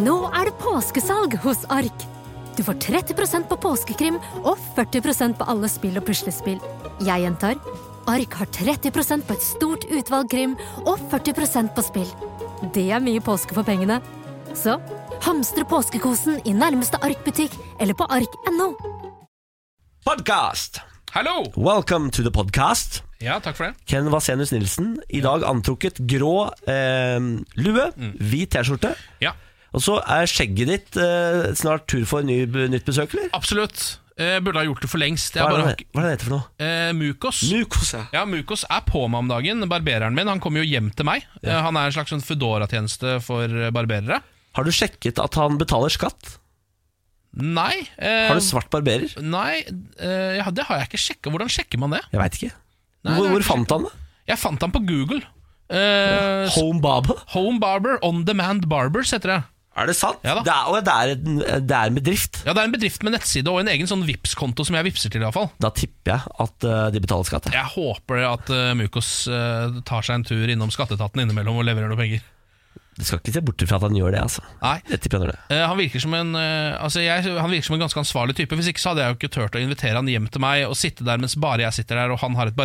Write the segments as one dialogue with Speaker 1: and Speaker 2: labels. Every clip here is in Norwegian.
Speaker 1: Nå er det påskesalg hos Ark. Du får 30 på påskekrim og 40 på alle spill og puslespill. Jeg gjentar Ark har 30 på et stort utvalg krim og 40 på spill. Det er mye påske for pengene. Så hamstre påskekosen i nærmeste Ark-butikk eller på ark.no.
Speaker 2: Podcast!
Speaker 3: Hallo!
Speaker 2: Welcome to the podcast.
Speaker 3: Ja, takk for det.
Speaker 2: Ken Vasenius Nilsen, i dag antrukket grå eh, lue, hvit T-skjorte.
Speaker 3: Ja,
Speaker 2: Og så er skjegget ditt eh, snart tur for ny, nytt besøk, eller?
Speaker 3: Absolutt. Eh, burde ha gjort det for lengst. Jeg
Speaker 2: Hva er,
Speaker 3: bare
Speaker 2: det,
Speaker 3: har ikke-
Speaker 2: hva er det det heter for noe?
Speaker 3: eh, Mukos.
Speaker 2: Mukos, ja.
Speaker 3: Ja, Mukos er på meg om dagen. Barbereren min han kommer jo hjem til meg. Eh, han er en slags sånn Foodora-tjeneste for eh, barberere.
Speaker 2: Har du sjekket at han betaler skatt?
Speaker 3: Nei eh,
Speaker 2: Har du svart barberer?
Speaker 3: Nei, eh, ja, det har jeg ikke sjekka. Hvordan sjekker man det?
Speaker 2: Jeg veit ikke. hvor
Speaker 3: Nei, det har
Speaker 2: hvor
Speaker 3: jeg
Speaker 2: fant han det?
Speaker 3: Jeg fant han på Google. Eh,
Speaker 2: Home Baba?
Speaker 3: Home Barber On Demand Barbers heter det.
Speaker 2: Er det sant?
Speaker 3: Ja da.
Speaker 2: det, er, og det, er en, det er en bedrift.
Speaker 3: Ja, Det er en bedrift med nettside og en egen sånn Vipps-konto som jeg vippser til. i hvert fall
Speaker 2: Da tipper jeg at eh, de betaler skatt. ja.
Speaker 3: Jeg håper at eh, Mukos eh, tar seg en tur innom skatteetaten innimellom og leverer noen penger.
Speaker 2: Du skal ikke se bort fra at han gjør det, altså.
Speaker 3: Nei,
Speaker 2: Jeg tipper han gjør det.
Speaker 3: Eh, Han virker, som en, eh, altså jeg, han virker som en ganske ansvarlig type. Hvis ikke så hadde jeg jo ikke turt å invitere han hjem til meg og sitte der mens bare jeg sitter der og han har et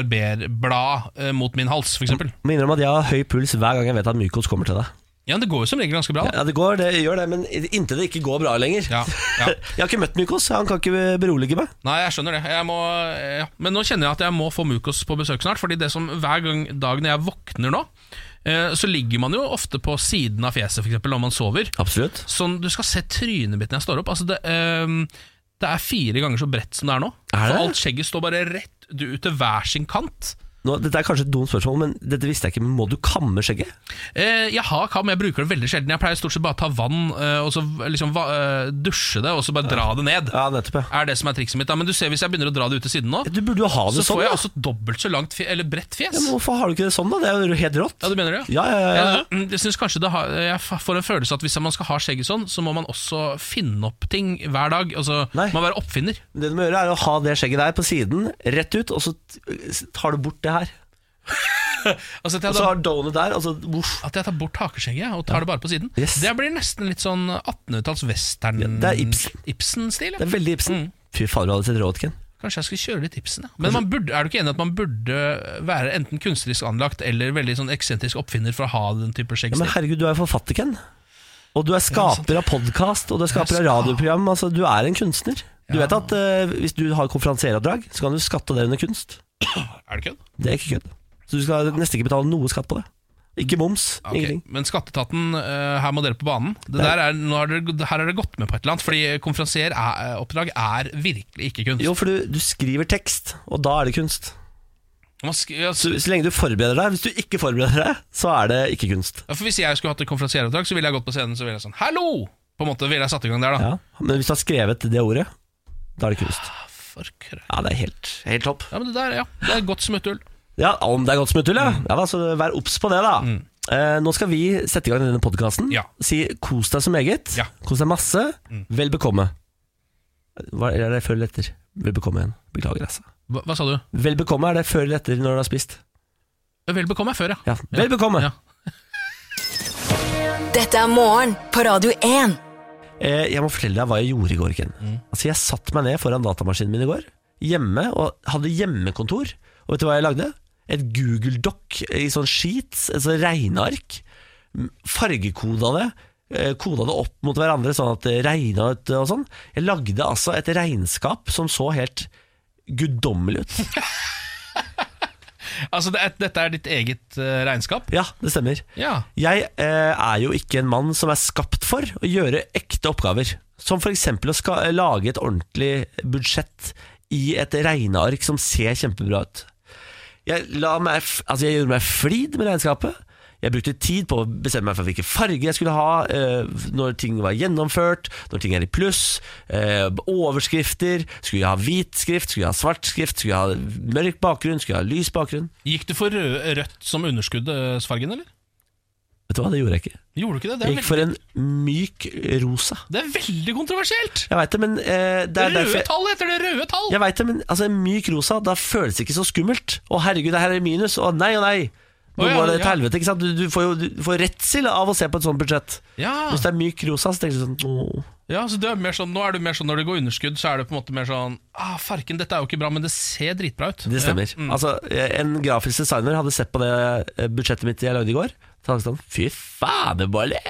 Speaker 3: barberblad eh, mot min hals, f.eks.
Speaker 2: Må innrømme at jeg har høy puls hver gang jeg vet at Mykos kommer til deg.
Speaker 3: Ja, det går jo som regel ganske bra. Da.
Speaker 2: Ja, det går, det gjør det, men inntil det ikke går bra lenger.
Speaker 3: Ja, ja.
Speaker 2: Jeg har ikke møtt Mykos, han kan ikke berolige meg.
Speaker 3: Nei, jeg skjønner det. Jeg må, eh, ja. Men nå kjenner jeg at jeg må få Mukos på besøk snart. Fordi det som hver gang dag når jeg våkner nå, eh, så ligger man jo ofte på siden av fjeset, f.eks. når man sover.
Speaker 2: Absolutt.
Speaker 3: Sånn, Du skal se trynet mitt når jeg står opp. Altså det, ehm, det er fire ganger så bredt som det er nå.
Speaker 2: Er det?
Speaker 3: For alt skjegget står bare rett ut til hver sin kant.
Speaker 2: Nå, dette er kanskje et dumt spørsmål, men dette visste jeg ikke. Men må du kamme skjegget?
Speaker 3: Eh, jeg har kam, jeg bruker det veldig sjelden. Jeg pleier stort sett bare å ta vann eh, og så liksom va eh, dusje det, og så bare dra det ned.
Speaker 2: Ja, nettopp, ja.
Speaker 3: Er det som er trikset mitt da. Men du ser hvis jeg begynner å dra det ut til siden nå,
Speaker 2: Du burde jo ha det
Speaker 3: så
Speaker 2: sånn.
Speaker 3: får jeg
Speaker 2: da.
Speaker 3: også dobbelt så langt fje eller bredt fjes.
Speaker 2: ja, men hvorfor har du ikke det sånn, da? Det er jo helt rått.
Speaker 3: Ja, du mener det?
Speaker 2: Ja, ja, ja, ja.
Speaker 3: Jeg, jeg synes kanskje det har, jeg får en følelse at hvis man skal ha skjegget sånn, så må man også finne opp ting hver dag. Altså,
Speaker 2: Nei.
Speaker 3: man må være oppfinner.
Speaker 2: Det du må gjøre, er å ha det skjegget der på siden, rett ut, og så t- tar du bort det her.
Speaker 3: Altså,
Speaker 2: Og
Speaker 3: at, jeg
Speaker 2: så
Speaker 3: da,
Speaker 2: har donet der, og så voff.
Speaker 3: at jeg tar bort hakeskjegget og tar det bare på siden.
Speaker 2: Yes.
Speaker 3: Det blir nesten litt sånn 1800-talls western
Speaker 2: Ja, det er Ibsen.
Speaker 3: Ibsen-stil. ja.
Speaker 2: Det er veldig Ibsen. Fy fader, du hadde sett råd, Ken.
Speaker 3: Kanskje jeg skulle kjøre litt Ibsen. Ja. Men man burde, er du ikke enig i at man burde være enten kunstnerisk anlagt eller veldig sånn eksentrisk oppfinner for å ha den
Speaker 2: Ja,
Speaker 3: type
Speaker 2: men
Speaker 3: skjeggstil?
Speaker 2: herregud, du er jo forfatter, Ken. Og du er skaper av podkast, og du er skaper av
Speaker 3: Ja, så-
Speaker 2: radioprogram. Altså, du er en kunstner. Du vet at eh, hvis du har konferansieroppdrag, så kan du skatte det under kunst.
Speaker 3: er det kødd?
Speaker 2: Det er ikke kødd. Så du skal nesten ikke betale noe skatt på det. Ikke moms,
Speaker 3: Ok,
Speaker 2: ingenting.
Speaker 3: Men Skatteetaten, eh, her må dere på banen. Det der er, nå har dere, her har dere gått med på et eller annet. Fordi konferansieroppdrag er virkelig ikke kunst.
Speaker 2: Jo, for du, du skriver tekst, og da er det kunst.
Speaker 3: Man sk- ja, s-
Speaker 2: Så, så lenge du forbereder deg. Hvis du ikke forbereder deg, så er det ikke kunst.
Speaker 3: ja, for Hvis jeg skulle hatt et konferansieroppdrag, så ville jeg gått på scenen Så ville jeg sånn Hallo! På en måte ville jeg satt i gang der, da.
Speaker 2: Ja. Men hvis du har skrevet det ordet, da er det kunst.
Speaker 3: Ah, For krø-
Speaker 2: Ja, det er helt, helt topp.
Speaker 3: ja, men det der, ja. Det er godt smutthull.
Speaker 2: Ja, om det er godt smutthull, ja. ja da, så vær obs på det, da. Eh, nå skal vi sette i gang denne podkasten.
Speaker 3: Ja.
Speaker 2: Si 'kos deg så meget',
Speaker 3: Ja. Mm.
Speaker 2: 'kos deg masse', 'vel bekomme'. Hva er det før eller etter? Vel bekomme igjen. Beklager, altså.
Speaker 3: Hva, hva sa du?
Speaker 2: Vel bekomme er det før eller etter når du har spist.
Speaker 3: Vel bekomme er før, ja.
Speaker 2: Ja, Vel bekomme.
Speaker 3: Ja.
Speaker 4: Dette er morgen på Radio 1.
Speaker 2: Eh, jeg må fortelle deg hva jeg gjorde i går, Ken. Altså, jeg satte meg ned foran datamaskinen min i går, hjemme, og hadde hjemmekontor. Og vet du hva jeg lagde? Et Google Doc i sånn sheets, et sånn regneark. M- Fargekoda det. eh, Koda det opp mot hverandre sånn at det regna ut eh, og sånn. Jeg lagde altså et regnskap som så helt guddommelig ut.
Speaker 3: Altså, det er, Dette er ditt eget eh, regnskap?
Speaker 2: Ja, det stemmer.
Speaker 3: Ja.
Speaker 2: Jeg eh, er jo ikke en mann som er skapt for å gjøre ekte oppgaver. Som f.eks. å ska lage et ordentlig budsjett i et regneark som ser kjempebra ut. Jeg, la meg, f- altså jeg gjorde meg flid med regnskapet. Jeg brukte tid på å bestemme meg for hvilke farger jeg skulle ha, eh, når ting var gjennomført, når ting er i pluss, eh, overskrifter. Skulle jeg ha hvit skrift, skulle jeg ha svart skrift, skulle jeg ha mørk bakgrunn, skulle jeg ha lys bakgrunn?
Speaker 3: Gikk du for rød, rødt som underskuddsfargen, eller?
Speaker 2: Vet du hva, det gjorde jeg ikke.
Speaker 3: Gjorde du ikke det? Det
Speaker 2: Jeg
Speaker 3: er,
Speaker 2: gikk
Speaker 3: veldig,
Speaker 2: for en myk rosa.
Speaker 3: det er veldig kontroversielt!
Speaker 2: Jeg veit det, men eh, det er
Speaker 3: røde
Speaker 2: derfor jeg,
Speaker 3: tall heter det! Røde tall!
Speaker 2: jeg vet det, men altså, myk rosa, da føles det ikke så skummelt. Å herregud, det her er minus. Å nei, å nei. Nå
Speaker 3: Å, ja,
Speaker 2: går det til
Speaker 3: ja.
Speaker 2: helvete, ikke sant? Du, du får jo du får redsel av å se på et sånt budsjett.
Speaker 3: Ja.
Speaker 2: Hvis det er myk rosa, så tenker du sånn åh.
Speaker 3: Ja, så det er mer sånn, Nå er det mer sånn når det går underskudd, så er det på en måte mer sånn ah, Farken, dette er jo ikke bra, men det ser dritbra ut.
Speaker 2: Det stemmer.
Speaker 3: Ja. Mm.
Speaker 2: Altså, En grafisk designer hadde sett på det eh, budsjettet mitt jeg lagde i går. Så hadde han sånn Fy faderbolle!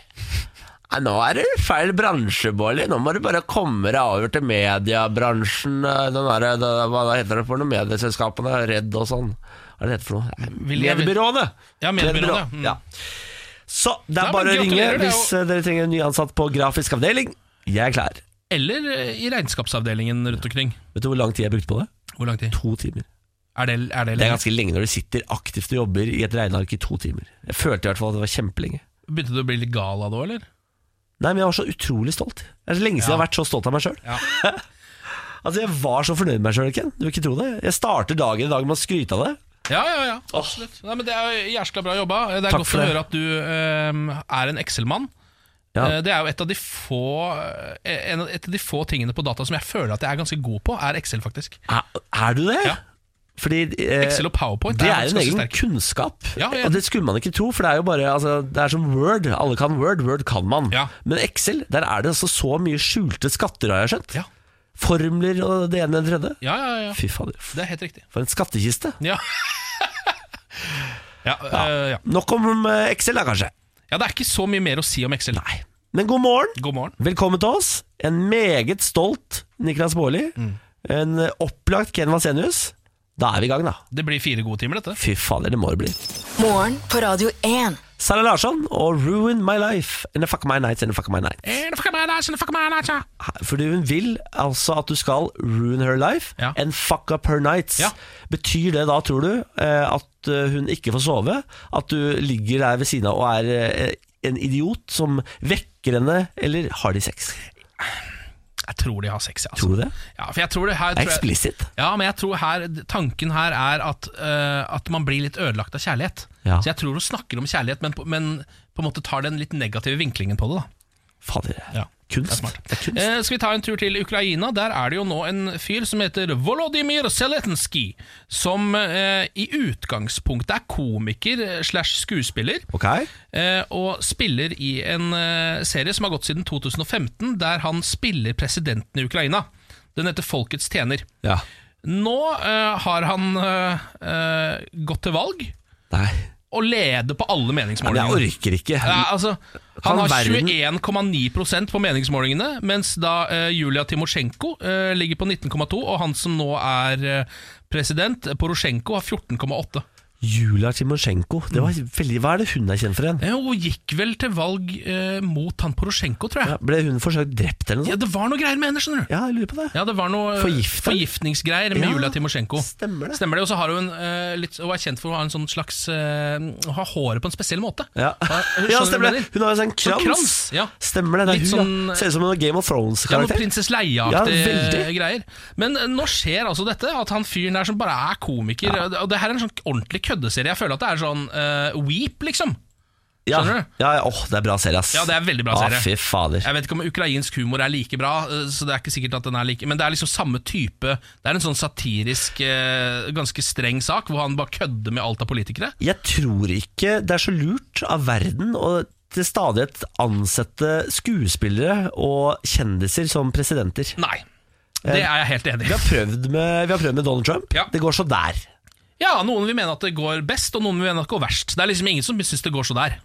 Speaker 2: Nei, Nå er du feil bransjebolle. Nå må du bare komme deg over til mediebransjen. eh, Den der, det, hva heter det for noe? Medieselskapene? Redd og sånn. Hva er det det heter for noe? Nei,
Speaker 3: Mm. Vil jeg-
Speaker 2: Mediebyråene!
Speaker 3: Ja, mediebyråene,
Speaker 2: Mediebyråene,
Speaker 3: mm.
Speaker 2: Ja. Så det
Speaker 3: Nei,
Speaker 2: er bare å
Speaker 3: men
Speaker 2: ringe
Speaker 3: gratulerer, det er
Speaker 2: hvis eh, dere trenger en ny ansatt på grafisk avdeling. Jeg er klar.
Speaker 3: Eller eh, i regnskapsavdelingen rundt omkring.
Speaker 2: Vet du hvor lang tid jeg brukte på det?
Speaker 3: Hvor lang tid?
Speaker 2: To timer.
Speaker 3: Er det, er
Speaker 2: Det er
Speaker 3: det, lenge?
Speaker 2: ganske lenge når du sitter aktivt og jobber i et regneark i to timer. Jeg følte i hvert fall at det var kjempelenge.
Speaker 3: Begynte du å bli litt gal av det òg, eller?
Speaker 2: Nei, men jeg var så utrolig stolt. Det er så lenge siden
Speaker 3: Ja.
Speaker 2: jeg har vært så stolt av meg sjøl.
Speaker 3: Ja.
Speaker 2: altså, jeg var så fornøyd med meg sjøl, Ken. Du vil ikke tro det. Jeg starter dagen i dag med å skryte av det.
Speaker 3: Ja, ja, ja. Absolutt. Nei, men det er jo jæskla bra jobba. Det er
Speaker 2: Takk
Speaker 3: godt
Speaker 2: for
Speaker 3: å
Speaker 2: det.
Speaker 3: høre at du eh, er en Excel-mann.
Speaker 2: Ja.
Speaker 3: Eh, Det er jo et av, de få, eh, en av- et av de få tingene på data som jeg føler at jeg er ganske god på, er Excel, faktisk.
Speaker 2: Er, er du det?
Speaker 3: Ja.
Speaker 2: Fordi eh,
Speaker 3: Excel og PowerPoint
Speaker 2: det er
Speaker 3: er
Speaker 2: en
Speaker 3: ganske
Speaker 2: egen
Speaker 3: sterke.
Speaker 2: kunnskap,
Speaker 3: Ja, ja.
Speaker 2: og det skulle man ikke tro. For det er jo bare altså, Det er som Word. Alle kan Word, Word kan man.
Speaker 3: Ja.
Speaker 2: Men Excel, der er det altså så mye skjulte skatter, har jeg skjønt.
Speaker 3: Ja.
Speaker 2: Formler og det ene og det tredje.
Speaker 3: Ja, ja, ja.
Speaker 2: Fy fader.
Speaker 3: Det er helt riktig.
Speaker 2: For en skattkiste.
Speaker 3: Ja. ja, eh, ja.
Speaker 2: Nok om eh, Excel, da, kanskje.
Speaker 3: ja, det er ikke så mye mer å si om Excel. Nei.
Speaker 2: Men god morgen.
Speaker 3: God morgen.
Speaker 2: Velkommen til oss. En meget stolt Niklas Baarli.
Speaker 3: Mm.
Speaker 2: En eh, opplagt Ken Vasenius. Da er vi i gang, da.
Speaker 3: Det blir fire gode timer, dette.
Speaker 2: Fy fader, det må det bli.
Speaker 4: Morgen på Radio 1.
Speaker 2: Sara Larsson og 'Ruin My Life'. And the fuck my nights, and the fuck my night.
Speaker 3: Ja,
Speaker 2: Fordi hun vil altså at du skal ruin her life
Speaker 3: Ja.
Speaker 2: and fuck up her nights.
Speaker 3: Ja.
Speaker 2: Betyr det da, tror du, eh, at eh, hun ikke får sove? At du ligger der ved siden av og er eh, en idiot som vekker henne, eller har de sex?
Speaker 3: Jeg tror de har sex, ja. Altså.
Speaker 2: Tror du det?
Speaker 3: Ja, for jeg tror det
Speaker 2: Det er
Speaker 3: her tror jeg,
Speaker 2: eksplisitt.
Speaker 3: Ja, men jeg tror her tanken her er at, eh, at man blir litt ødelagt av kjærlighet.
Speaker 2: Ja.
Speaker 3: Så jeg tror hun snakker om kjærlighet, men, på- men på en måte tar den litt negative vinklingen på det. da
Speaker 2: Fader.
Speaker 3: Ja,
Speaker 2: kunst.
Speaker 3: det er smart.
Speaker 2: Det er kunst.
Speaker 3: Eh, skal vi ta en tur til Ukraina? Der er det jo nå en fyr som heter Volodymyr Zelenskyj, som eh, i utgangspunktet er komiker eh, slash skuespiller.
Speaker 2: Ok.
Speaker 3: eh, Og spiller i en eh, serie som har gått siden 2015, der han spiller presidenten i Ukraina. Den heter Folkets tjener.
Speaker 2: Ja.
Speaker 3: Nå eh, har han eh, eh, gått til valg
Speaker 2: Nei.
Speaker 3: og leder på alle
Speaker 2: Men jeg
Speaker 3: meningsmålingene.
Speaker 2: orker ikke.
Speaker 3: Ja, altså,
Speaker 2: Han
Speaker 3: han har
Speaker 2: verden-
Speaker 3: 21,9 på meningsmålingene, mens da eh, Julia Timosjenko eh, ligger på 19,2, og han som nå er eh, president, Porosjenko, har 14,8.
Speaker 2: Julia Timosjenko. Det var
Speaker 3: Mm.
Speaker 2: veldig, hva er det hun er kjent for? igjen?
Speaker 3: Eh, Hun gikk vel til valg eh, mot han Porosjenko, tror jeg.
Speaker 2: Ja, ble hun forsøkt drept eller noe
Speaker 3: Ja,
Speaker 2: sånt?
Speaker 3: det var noe greier med henne, skjønner du.
Speaker 2: Ja, jeg lurer på det.
Speaker 3: Ja, det var noe eh,
Speaker 2: Forgiftet?
Speaker 3: forgiftningsgreier med
Speaker 2: Ja,
Speaker 3: Julia Timosjenko.
Speaker 2: stemmer det.
Speaker 3: Stemmer det, Og så har hun eh, litt, hun er kjent for å ha en sånn slags eh, Å ha håret på en spesiell måte.
Speaker 2: Ja,
Speaker 3: skjønner du
Speaker 2: ja
Speaker 3: hva
Speaker 2: stemmer det.
Speaker 3: jeg mener?
Speaker 2: Hun har jo sånn krans.
Speaker 3: krans, ja.
Speaker 2: Stemmer det. det er
Speaker 3: Litt
Speaker 2: hun,
Speaker 3: sånn,
Speaker 2: ja.
Speaker 3: eh,
Speaker 2: Ser ut som en Game of
Speaker 3: Ja, noe
Speaker 2: Thrones-karakter.
Speaker 3: Prinsesse Leia-aktige
Speaker 2: Ja, veldig.
Speaker 3: greier. Men eh, nå skjer altså dette, at han fyren der som bare er komiker og det- Og det her er en sånn ordentlig køddeserie. Jeg føler at det er sånn eh, Weep, liksom.
Speaker 2: Ja,
Speaker 3: skjønner du?
Speaker 2: Ja, ja, åh, det er bra serie, ass.
Speaker 3: Ja, det er veldig bra serie.
Speaker 2: Ah, fy fader.
Speaker 3: Jeg vet ikke om ukrainsk humor er like bra, eh, Så det er ikke sikkert at den er like men det er liksom samme type. Det er en sånn satirisk, eh, ganske streng sak, hvor han bare kødder med alt av politikere.
Speaker 2: Jeg tror ikke det er så lurt av verden å til stadighet ansette skuespillere og kjendiser som presidenter.
Speaker 3: Nei.
Speaker 2: Eh,
Speaker 3: Det er jeg helt enig
Speaker 2: Vi
Speaker 3: i.
Speaker 2: har prøvd med, vi har prøvd med Donald Trump.
Speaker 3: Ja.
Speaker 2: Det går så der.
Speaker 3: Ja, Noen vil mene at det går best, og noen vil mene at det går verst. Det er liksom ingen som syns det går så der.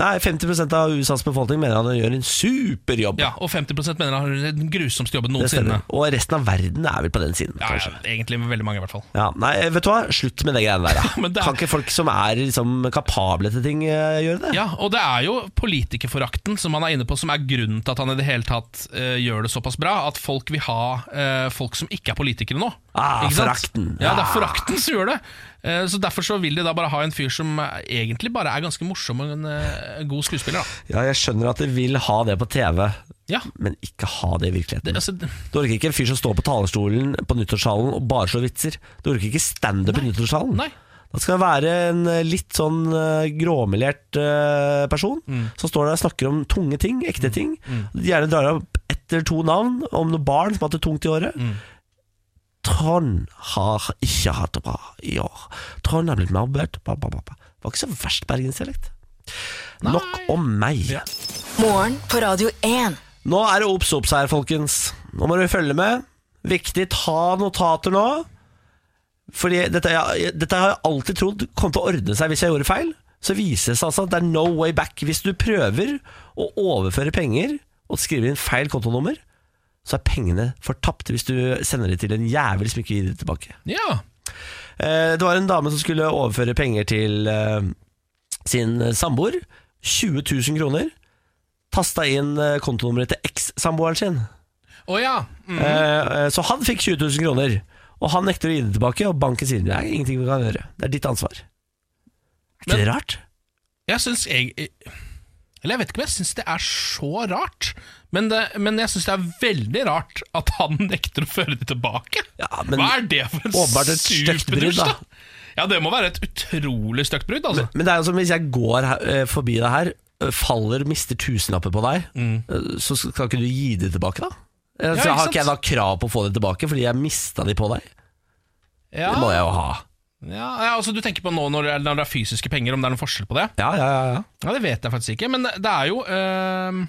Speaker 2: Nei, 50 av USAs befolkning mener han gjør en super jobb.
Speaker 3: Ja, Og 50 mener han har den grusomste jobben
Speaker 2: det
Speaker 3: noensinne.
Speaker 2: stemmer. Og resten av verden er vel på den siden,
Speaker 3: Ja,
Speaker 2: kanskje.
Speaker 3: ja, egentlig med veldig mange, i hvert fall.
Speaker 2: Ja, nei, vet du hva? Slutt med de greiene der. Da.
Speaker 3: Men det er-
Speaker 2: Kan ikke folk som er liksom, kapable til ting, eh, gjøre det?
Speaker 3: Ja, Og det er jo politikerforakten som han er inne på, som er grunnen til at han i det hele tatt eh, gjør det såpass bra. At folk vil ha eh, folk som ikke er politikere nå.
Speaker 2: Ah,
Speaker 3: Ikke sant?
Speaker 2: forakten.
Speaker 3: Ja, det er
Speaker 2: Ah.
Speaker 3: forakten som gjør det. Eh, så Derfor så vil de da bare ha en fyr som eh, egentlig bare er ganske morsom og en eh, god skuespiller. da
Speaker 2: Ja, jeg skjønner at de vil ha det på TV,
Speaker 3: Ja,
Speaker 2: men ikke ha det i
Speaker 3: det,
Speaker 2: virkeligheten.
Speaker 3: altså, det-
Speaker 2: Du orker ikke en fyr som står på talerstolen på nyttårssalen og bare slår vitser. Du orker ikke standup i nyttårssalen.
Speaker 3: Nei.
Speaker 2: Da skal det være en eh, litt sånn eh, gråmelert eh, person som står der og snakker om tunge ting, ekte ting. Gjerne drar opp ett eller to navn om noen barn som har hatt det tungt i året. Trond har ikke hatt det bra i år. Trond har blitt mobbet. Ba, ba, ba, ba. Var ikke så verst bergensdialekt. Nok om meg.
Speaker 3: Ja.
Speaker 4: Morgen på Radio 1.
Speaker 2: Nå er det obs obs her, folkens. Nå må dere følge med. Viktig, ta notater nå. Fordi dette, ja, dette har jeg alltid trodd kom til å ordne seg hvis jeg gjorde feil. Så viser det seg altså at det er no way back. Hvis du prøver å overføre penger og skriver inn feil kontonummer, så er pengene fortapt hvis du sender det til en jævel som ikke gir det tilbake.
Speaker 3: Ja.
Speaker 2: Eh, Det var en dame som skulle overføre penger til eh, sin samboer. 20 000 kroner. Tasta inn eh, kontonummeret til eks-samboeren sin.
Speaker 3: Å ja. Mm.
Speaker 2: Eh, eh, Så han fikk 20 000 kroner. Og han nekter å gi det tilbake, og banken sier det er ingenting vi kan gjøre. Det er ditt ansvar. Er ikke
Speaker 3: Men-
Speaker 2: det rart?
Speaker 3: Jeg syns jeg Eller jeg vet ikke om jeg syns det er så rart, men, det, men jeg syns det er veldig rart at han nekter å føre det tilbake.
Speaker 2: Ja, men-
Speaker 3: Hva er det for en
Speaker 2: Åpenbart et stygt brudd,
Speaker 3: superdusj,
Speaker 2: da.
Speaker 3: da? Ja, det må være et utrolig stygt brudd, altså.
Speaker 2: Men det er jo som hvis jeg går her, eh, forbi deg her, eh, faller, mister tusenlapper på deg, eh, så skal ikke du gi det tilbake, da? Eh, Så
Speaker 3: Mm. Ja, ikke
Speaker 2: har ikke jeg da
Speaker 3: sant?
Speaker 2: krav på å få det tilbake, fordi jeg mista de på deg?
Speaker 3: Ja,
Speaker 2: Det må jeg jo ha.
Speaker 3: ja, ja, altså Du tenker på nå når det, er, når det er fysiske penger, om det er noen forskjell på det?
Speaker 2: Ja, ja, ja, ja.
Speaker 3: Ja, Det vet jeg faktisk ikke, men det er jo øhm,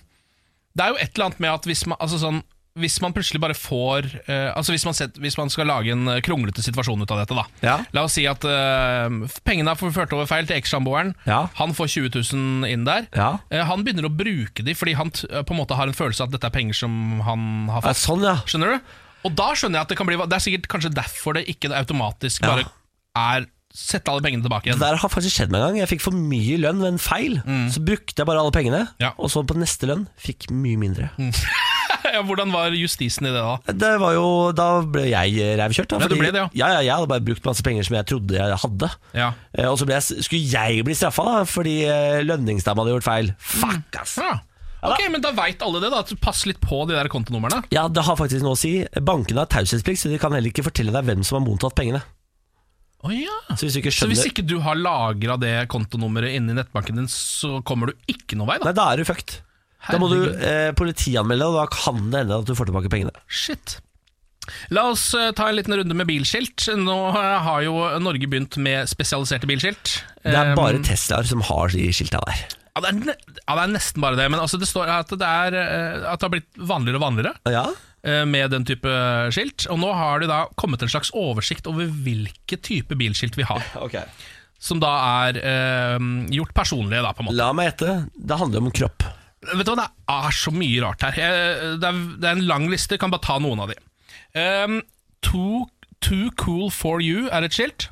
Speaker 3: Det er jo et eller annet med at hvis man, altså sånn, hvis man plutselig bare får øh, Altså hvis man, set, hvis man skal lage en øh, kronglete situasjon ut av dette, da.
Speaker 2: Ja.
Speaker 3: La oss si at øh, pengene er forført over feil til ekssamboeren.
Speaker 2: Ja.
Speaker 3: Han får 20 000 inn der.
Speaker 2: Ja.
Speaker 3: Eh, han begynner å bruke de fordi han t eh, på en måte har en følelse av at dette er penger som han har
Speaker 2: Ja,
Speaker 3: fått.
Speaker 2: sånn, ja.
Speaker 3: Skjønner du? Og da skjønner jeg at det kan bli Det er sikkert kanskje derfor det ikke automatisk
Speaker 2: Ja.
Speaker 3: bare er Sett alle pengene tilbake
Speaker 2: Det
Speaker 3: igjen.
Speaker 2: der har faktisk skjedd meg en gang. Jeg fikk for mye lønn ved en feil. Så brukte jeg bare alle pengene,
Speaker 3: Mm. Ja. Mm.
Speaker 2: og så på neste lønn fikk mye mindre.
Speaker 3: ja, hvordan var justisen i det da?
Speaker 2: Det var jo, Da ble jeg revkjørt. Da,
Speaker 3: Ja, du
Speaker 2: fordi-
Speaker 3: ble det,
Speaker 2: ja. ja, Jeg hadde bare brukt masse penger som jeg trodde jeg hadde.
Speaker 3: Ja.
Speaker 2: Eh, Og så ble jeg, skulle jeg bli straffa da, fordi eh, lønningsdama hadde gjort feil. Fuck, ass!
Speaker 3: ja. Ok, men da veit alle det, da. at Pass litt på de der kontonumrene.
Speaker 2: Ja, det har faktisk noe å si. Bankene har taushetsplikt, så de kan heller ikke fortelle deg hvem som har mottatt pengene.
Speaker 3: Å ja.
Speaker 2: Så hvis du ikke
Speaker 3: Så
Speaker 2: skjønner
Speaker 3: hvis ikke du har lagra det kontonummeret inni nettbanken din, så kommer du ikke noen vei, da?
Speaker 2: Nei, da er du fucked. Da må du eh, politianmelde, og da kan det hende at du får tilbake pengene.
Speaker 3: Shit. La oss eh, ta en liten runde med bilskilt. Nå eh, har jo Norge begynt med spesialiserte bilskilt.
Speaker 2: Det er
Speaker 3: Eh,
Speaker 2: bare Teslaer som har de skilta der.
Speaker 3: ja, det er, ne ja, det er nesten bare det, men altså, det står at det, er, eh, at det har blitt vanligere og vanligere
Speaker 2: Ja,
Speaker 3: eh, med den type skilt. Og nå har det da kommet en slags oversikt over hvilke type bilskilt vi har,
Speaker 2: ok
Speaker 3: som da er eh, gjort personlige, da, på en måte.
Speaker 2: La meg gjette. Det handler om kropp.
Speaker 3: Vet du hva, det er så mye rart her. Jeg, eh, det, er, det er en lang liste, jeg kan bare ta noen av de. Ehm, too, too cool for you er et skilt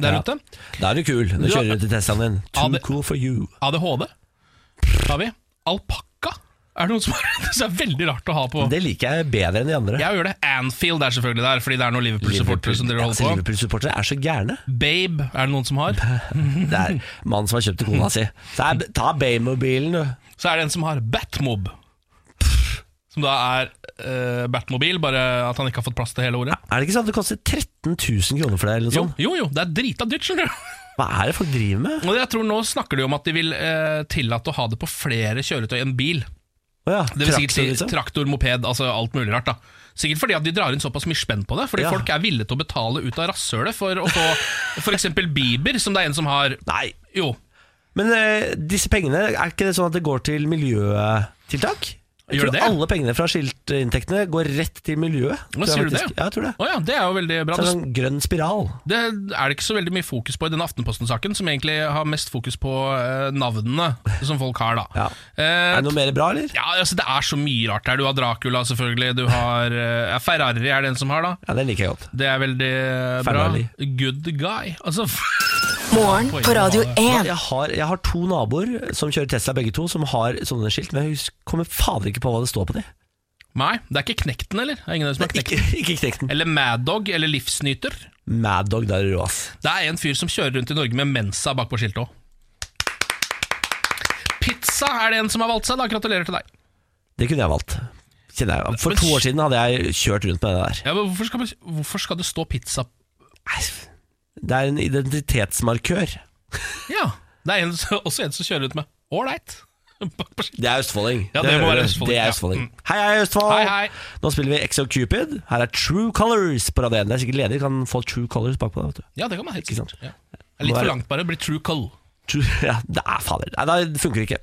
Speaker 3: der
Speaker 2: Ja.
Speaker 3: ute.
Speaker 2: Da er du kul. Da
Speaker 3: Du har-
Speaker 2: kjører du til Teslaen din.
Speaker 3: Ja,
Speaker 2: Too
Speaker 3: det-
Speaker 2: cool for you.
Speaker 3: ADHD har vi. Alpakka er det noen som har. Det er veldig rart å ha på.
Speaker 2: Det liker jeg bedre enn de andre.
Speaker 3: Jeg gjør det. Anfield er selvfølgelig der, fordi det er noen Liverpool-supportere som dere
Speaker 2: altså,
Speaker 3: holder på.
Speaker 2: Liverpool-supportere er så gærne.
Speaker 3: Babe er det noen som har.
Speaker 2: Det er mannen som har kjøpt til kona si. Så er, ta Baymobilen, du.
Speaker 3: Så er det en som har Batmob. Som da er eh, Batmobil, bare at han ikke har fått plass til hele ordet.
Speaker 2: Er det ikke sant det koster 13 000 kroner for deg? Eller noe
Speaker 3: Jo,
Speaker 2: sånt?
Speaker 3: jo, jo, det er drita dyrt, skjønner du.
Speaker 2: Hva er det folk driver med?
Speaker 3: Og jeg tror Nå snakker de om at de vil eh, tillate å ha det på flere kjøretøy enn bil.
Speaker 2: Å ja,
Speaker 3: Det vil si
Speaker 2: traktor,
Speaker 3: traktor,
Speaker 2: liksom.
Speaker 3: traktor, moped, altså alt mulig rart. da Sikkert fordi at de drar inn såpass mye spenn på det. Fordi
Speaker 2: Ja.
Speaker 3: folk er villige til å betale ut av rasshølet for å få f.eks. Bieber, som det er en som har
Speaker 2: Nei,
Speaker 3: Jo.
Speaker 2: men eh, disse pengene, er ikke det sånn at det går til miljøtiltak? Jeg
Speaker 3: Gjør
Speaker 2: tror
Speaker 3: det det?
Speaker 2: alle pengene fra skiltinntektene går rett til miljøet.
Speaker 3: Nå
Speaker 2: tror
Speaker 3: sier
Speaker 2: jeg
Speaker 3: du det?
Speaker 2: faktisk. Ja, jeg tror det.
Speaker 3: Å ja, det er jo veldig bra.
Speaker 2: Så er det
Speaker 3: Det,
Speaker 2: en sånn grønn spiral.
Speaker 3: det er det ikke så veldig mye fokus på i den Aftenposten-saken, som egentlig har mest fokus på eh, navnene som folk har, da.
Speaker 2: Ja.
Speaker 3: Eh,
Speaker 2: Er det noe mer bra, eller?
Speaker 3: ja, altså Det er så mye rart her. Du har Dracula, selvfølgelig. Du har eh, Ferrari er det en som har, da.
Speaker 2: Ja, den liker jeg godt.
Speaker 3: Det er veldig eh, bra.
Speaker 2: Ferrari.
Speaker 3: Good guy. Altså,
Speaker 4: Morgen på Radio 1.
Speaker 2: Jeg har, jeg har to naboer som kjører Tesla, begge to, som har sånne skilt, men jeg hus- kommer fader ikke på hva det står på dem.
Speaker 3: nei, det er ikke Knekten, eller? Det er ingen som har
Speaker 2: Ikke,
Speaker 3: Knekten.
Speaker 2: ikke knekt den.
Speaker 3: Eller Mad Dog, eller Livsnyter.
Speaker 2: Mad Dog, der er du, ass.
Speaker 3: Det er en fyr som kjører rundt i Norge med Mensa bakpå skiltet òg. Pizza er det en som har valgt seg, da. Gratulerer til deg.
Speaker 2: Det kunne jeg valgt. Kjenner jeg. For
Speaker 3: Men-
Speaker 2: to år siden hadde jeg kjørt rundt med det der.
Speaker 3: Ja, men hvorfor, skal, man- hvorfor skal det stå pizza
Speaker 2: Nei, Det er en identitetsmarkør.
Speaker 3: Ja, det er en, også en som kjører rundt med ålreit bakpå skiltet.
Speaker 2: Det er østfolding.
Speaker 3: Ja, det må
Speaker 2: hører
Speaker 3: være
Speaker 2: du.
Speaker 3: østfolding,
Speaker 2: Det er
Speaker 3: ja.
Speaker 2: østfolding.
Speaker 3: Mm.
Speaker 2: Hei, hei, Østfold!
Speaker 3: Hei, hei.
Speaker 2: Nå spiller vi Exo Cupid. Her er True Colors på radioen. Det er sikkert ledig, kan få True Colors bakpå deg. vet du.
Speaker 3: Ja, det kan man helt
Speaker 2: Ikke sant?
Speaker 3: sikkert. Ja. Det er litt for langt, bare. Blir true cull.
Speaker 2: tu- ja, det er fader. Nei, det funker ikke.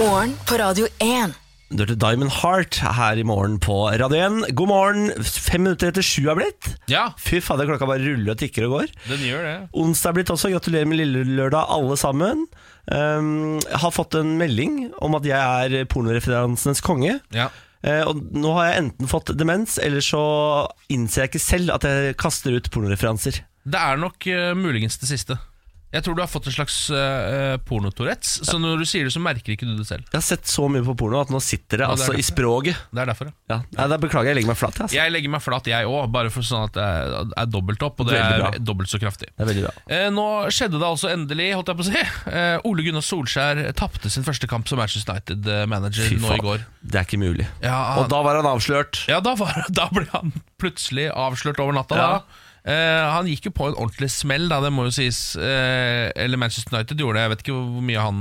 Speaker 4: Morgen på Radio 1.
Speaker 2: Du hørte Diamond Heart her i morgen på Radio 1. God morgen. Fem minutter etter sju er blitt.
Speaker 3: Ja,
Speaker 2: Fy fader, klokka bare ruller og tikker og går.
Speaker 3: den gjør det.
Speaker 2: Onsdag er blitt også. Gratulerer med lille lørdag, alle sammen. Um, jeg har fått en melding om at jeg er pornoreferansenes konge.
Speaker 3: Ja.
Speaker 2: Eh, og nå har jeg enten fått demens, eller så innser jeg ikke selv at jeg kaster ut pornoreferanser.
Speaker 3: Det er nok eh, muligens det siste. Jeg tror du har fått en slags uh, porno-Tourettes, så når du sier det, så merker ikke du det selv.
Speaker 2: Jeg har sett så mye på porno at nå sitter det
Speaker 3: Ja, det er
Speaker 2: altså
Speaker 3: det.
Speaker 2: i språket.
Speaker 3: Det er derfor, ja.
Speaker 2: Ja. Nei, da beklager jeg, jeg legger meg flat. jeg, Altså.
Speaker 3: Jeg legger meg flat, jeg òg, bare for sånn at det er, er dobbelt opp, og det
Speaker 2: Veldig
Speaker 3: er
Speaker 2: bra.
Speaker 3: dobbelt så kraftig.
Speaker 2: Det er veldig bra.
Speaker 3: Eh, nå skjedde det altså endelig, holdt jeg på å si. Eh, Ole Gunnar Solskjær tapte sin første kamp som Manchester United-manager nå i går.
Speaker 2: det er ikke mulig.
Speaker 3: Ja,
Speaker 2: Og da var han avslørt.
Speaker 3: Ja, da, var, da ble han plutselig avslørt over natta.
Speaker 2: Ja.
Speaker 3: Da. Eh, han gikk jo på en ordentlig smell, da, det må jo sies. Eh, eller Manchester United gjorde det. Jeg vet ikke hvor mye han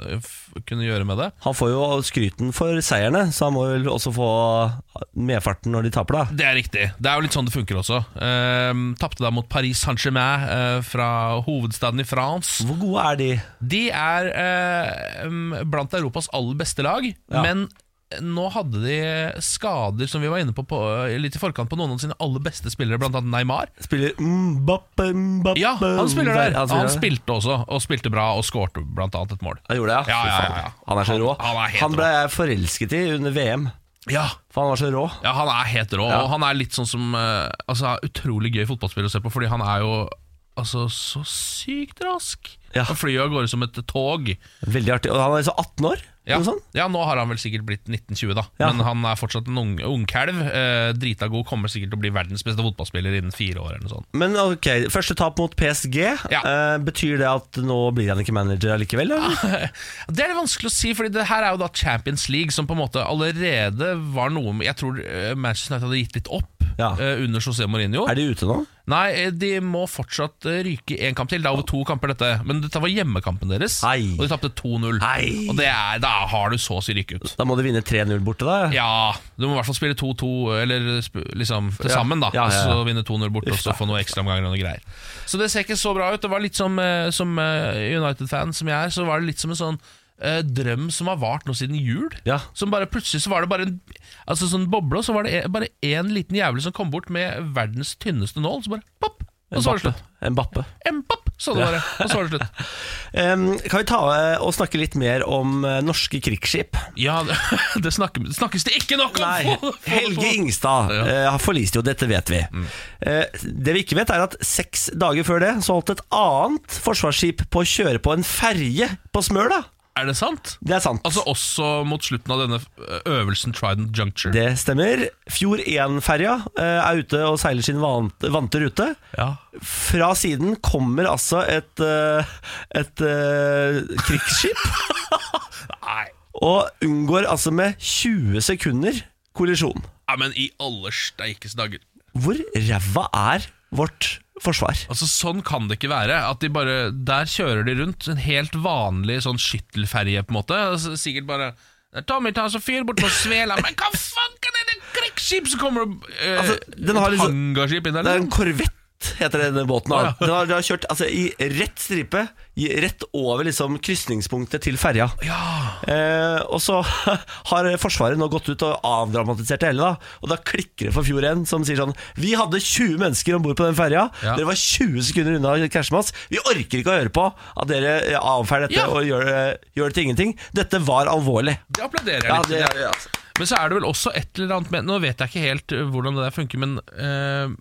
Speaker 3: eh, f kunne gjøre med det.
Speaker 2: Han får jo skryten for seierne, så han må vel også få medfarten når de taper, da.
Speaker 3: Det er riktig. Det er jo litt sånn det funker også. Eh, Tapte da mot Paris Saint-Germain eh, fra hovedstaden i France.
Speaker 2: Hvor gode er de?
Speaker 3: De er eh, mm, blant Europas aller beste lag,
Speaker 2: Ja.
Speaker 3: men nå hadde de skader som vi var inne på, på eh, litt i forkant på noen av sine aller beste spillere, blant annet Neymar.
Speaker 2: Spiller Mbappe, Mbappe
Speaker 3: Ja, han spiller der.
Speaker 2: Ja,
Speaker 3: Han,
Speaker 2: spiller der.
Speaker 3: spilte også, og spilte bra, og skårte blant annet et mål.
Speaker 2: Han gjorde det,
Speaker 3: Ja,
Speaker 2: Fy
Speaker 3: ja, ja,
Speaker 2: faen.
Speaker 3: ja.
Speaker 2: Han er så
Speaker 3: Han-
Speaker 2: rå.
Speaker 3: han er helt
Speaker 2: ble jeg forelsket i under VM,
Speaker 3: Ja,
Speaker 2: for han var så rå.
Speaker 3: ja han er helt rå, og han er litt sånn som eh, Altså, utrolig gøy fotballspiller å se på, fordi han er jo Altså, så sykt rask.
Speaker 2: Ja.
Speaker 3: Han flyr jo av gårde som et tog.
Speaker 2: Veldig artig. Og han er liksom 18 år?
Speaker 3: Ja.
Speaker 2: Noe sånt?
Speaker 3: ja, nå har han vel sikkert blitt 1920, da.
Speaker 2: Ja.
Speaker 3: Men han er fortsatt en ung- ungkalv. Eh, drita god, kommer sikkert til å bli verdens beste fotballspiller innen fire år eller noe sånt.
Speaker 2: Men ok, første tap mot PSG.
Speaker 3: Ja. Ah,
Speaker 2: Eh, betyr det at nå blir han ikke manager allikevel? Eller?
Speaker 3: Det er det vanskelig å si, Fordi det her er jo da Champions League, som på en måte allerede var noe Jeg tror eh, Manchester United hadde gitt litt opp
Speaker 2: Ja.
Speaker 3: eh, under José Mourinho.
Speaker 2: Er de ute nå?
Speaker 3: Nei, eh, de må fortsatt eh, ryke én kamp til. Det er over to kamper, dette. Men dette var hjemmekampen deres,
Speaker 2: Ei.
Speaker 3: og de tapte 2-0.
Speaker 2: Nei!
Speaker 3: Og det er, da har du så å si ryke ut.
Speaker 2: Da må de vinne 3-0 borte, da.
Speaker 3: Ja, du må i hvert fall spille 2-2, eller sp- liksom til
Speaker 2: Ja.
Speaker 3: sammen, da.
Speaker 2: Ja, ja, ja.
Speaker 3: Så vinne 2-0 bort, og så få noen ekstraomganger og noe greier. Så det ser ikke så bra ut. Det var litt som, eh, som eh, United-fan som jeg er, så var det litt som en sånn eh, drøm som har vart nå siden jul.
Speaker 2: Ja.
Speaker 3: Som bare Plutselig så var det bare en Altså sånn boble, og så var det e- bare én liten jævel som kom bort med verdens tynneste nål, så bare pop! Og så var
Speaker 2: Mbappe.
Speaker 3: det slutt.
Speaker 2: Mbappe.
Speaker 3: Empap, sa det bare. Og så var det slutt.
Speaker 2: Em, kan vi ta eh, og snakke litt mer om eh, norske krigsskip?
Speaker 3: Ja, det, det snakker, snakkes det ikke nok om!
Speaker 2: Nei,
Speaker 3: Få det- få det
Speaker 2: Helge
Speaker 3: på-
Speaker 2: Ingstad
Speaker 3: Ja. Mm.
Speaker 2: eh, har forlist jo, dette vet vi. Eh, det vi ikke vet, er at seks dager før det så holdt et annet forsvarsskip på å kjøre på en ferje på Smøla.
Speaker 3: Er det sant?
Speaker 2: Det er sant.
Speaker 3: Altså også mot slutten av denne eh, øvelsen Trident Juncture.
Speaker 2: Det stemmer. Fjord 1-ferja eh, er ute og seiler sin van- vante rute.
Speaker 3: Ja.
Speaker 2: Fra siden kommer altså et, eh, et eh, krigsskip.
Speaker 3: Nei.
Speaker 2: Og unngår altså med 20 sekunder kollisjon.
Speaker 3: Nei, men i alle steikes dager.
Speaker 2: Hvor ræva er vårt forsvar?
Speaker 3: Altså Sånn kan det ikke være. At de bare, Der kjører de rundt en helt vanlig sånn skyttelferje, på en måte. Altså, sikkert bare Tommy, ta så fyr bort på svela Men hva fanken er det krigsskip som kommer og eh,
Speaker 2: Altså, den har
Speaker 3: et
Speaker 2: liksom-
Speaker 3: hangarskip inn
Speaker 2: Det
Speaker 3: der?
Speaker 2: er
Speaker 3: liksom?
Speaker 2: en korvett, heter denne båten.
Speaker 3: Å,
Speaker 2: da.
Speaker 3: ja.
Speaker 2: Den har, den har kjørt altså, i rett stripe, i, rett over liksom, krysningspunktet til ferja.
Speaker 3: Ja.
Speaker 2: Eh, og så har Forsvaret nå gått ut og avdramatisert det hele. Da. Og da klikker det for Fjord 1, som sier sånn Vi hadde 20 mennesker om bord på den ferja.
Speaker 3: Ja.
Speaker 2: Dere var 20 sekunder unna å krasje med oss. Vi orker ikke å høre på at dere eh, avfeier dette
Speaker 3: Ja.
Speaker 2: og gjør, eh, gjør det til ingenting. Dette var alvorlig.
Speaker 3: Det applauderer jeg
Speaker 2: Ja,
Speaker 3: litt.
Speaker 2: det gjør jeg, altså.
Speaker 3: Men så er det vel også et eller annet med Nå vet jeg ikke helt øh, hvordan det der funker, men øh,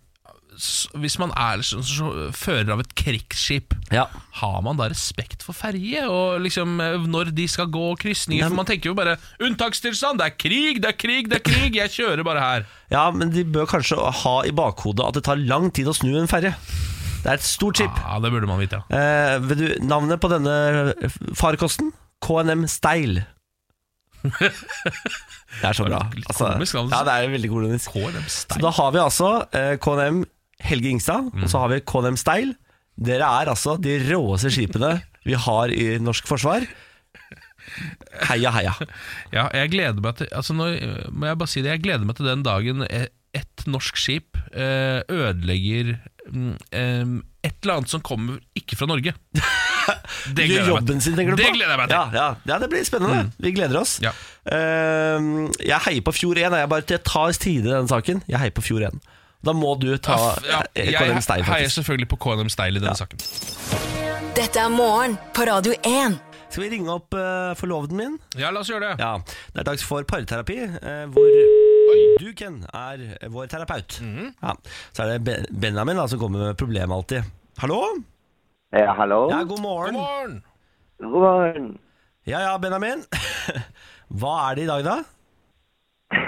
Speaker 3: s- hvis man er liksom så, så, så, fører av et krigsskip,
Speaker 2: Ja.
Speaker 3: har man da respekt for ferje? Og liksom øh, når de skal gå krysninger? For man tenker jo bare 'unntakstilstand', det er krig, det er krig, det er krig, jeg kjører bare her.
Speaker 2: ja, men de bør kanskje ha i bakhodet at det tar lang tid å snu en ferje. Det er et stort skip.
Speaker 3: Ja, Det burde man vite, ja.
Speaker 2: Eh, vet du, navnet på denne eh, farkosten? KNM Steil. Det er så bra.
Speaker 3: Litt komisk, altså.
Speaker 2: ja, det er veldig kolonisk.
Speaker 3: KLM
Speaker 2: Så
Speaker 3: Stein.
Speaker 2: da har vi altså eh, KNM Helge Ingstad,
Speaker 3: Mm.
Speaker 2: og så har vi KNM Steil. Dere er altså de råeste skipene vi har i norsk forsvar. Heia, heia.
Speaker 3: Ja, jeg gleder meg til altså nå, øh, må jeg bare si det, jeg gleder meg til den dagen eh, et norsk skip øh, ødelegger mm, eh, et eller annet som kommer ikke fra Norge. Det
Speaker 2: Gjør
Speaker 3: gleder jeg meg
Speaker 2: jobben
Speaker 3: til.
Speaker 2: sin, tenker du
Speaker 3: Det
Speaker 2: på?
Speaker 3: gleder jeg meg til. Mm.
Speaker 2: Ja, ja. ja det blir spennende. Vi gleder oss.
Speaker 3: Ja.
Speaker 2: Ehm, jeg heier på Fjord 1. Jeg, bare, jeg tar side i denne saken. Jeg heier på Fjord 1. Da må du ta
Speaker 3: Ja,
Speaker 2: eh,
Speaker 3: jeg
Speaker 2: KLM Stein,
Speaker 3: heier
Speaker 2: faktisk.
Speaker 3: selvfølgelig på KLM Steil i denne saken.
Speaker 4: Dette er morgen på Radio 1.
Speaker 2: Skal vi ringe opp eh, forloveden min?
Speaker 3: Ja, la oss gjøre det.
Speaker 2: Ja, Det er dags for parterapi, eh, hvor du, Ken, er vår terapeut.
Speaker 3: Mm.
Speaker 2: Ja. Så er det ben Benjamin da, som kommer med problemet alltid. Hallo?
Speaker 5: Ja, hallo?
Speaker 2: Ja, god morgen.
Speaker 3: God morgen!
Speaker 5: God morgen.
Speaker 2: Ja ja, Benjamin. Hva er det i dag, da?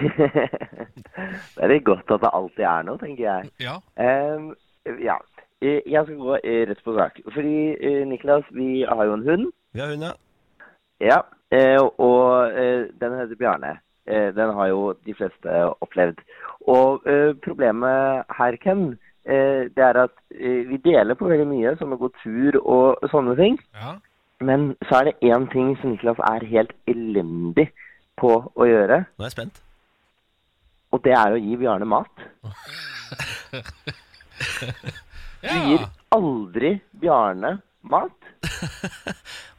Speaker 5: Det er litt godt at det alltid er noe, tenker jeg.
Speaker 3: Ja.
Speaker 5: Ehm, ja, Eh, jeg skal gå eh, rett på sak. Fordi, eh, Niklas, vi har jo en hund.
Speaker 2: Vi har hund, ja.
Speaker 5: Ja, eh, og eh, den heter Bjarne. Eh, Den har jo de fleste opplevd. Og eh, problemet her, Ken, eh, det er at eh, vi deler på veldig mye, som å gå tur og sånne ting.
Speaker 3: ja.
Speaker 5: Men så er det én ting som Niklas er helt elendig på å gjøre,
Speaker 2: Nå er jeg spent.
Speaker 5: og det er å gi Bjarne mat. gir
Speaker 3: ja.
Speaker 5: aldri Bjarne mat.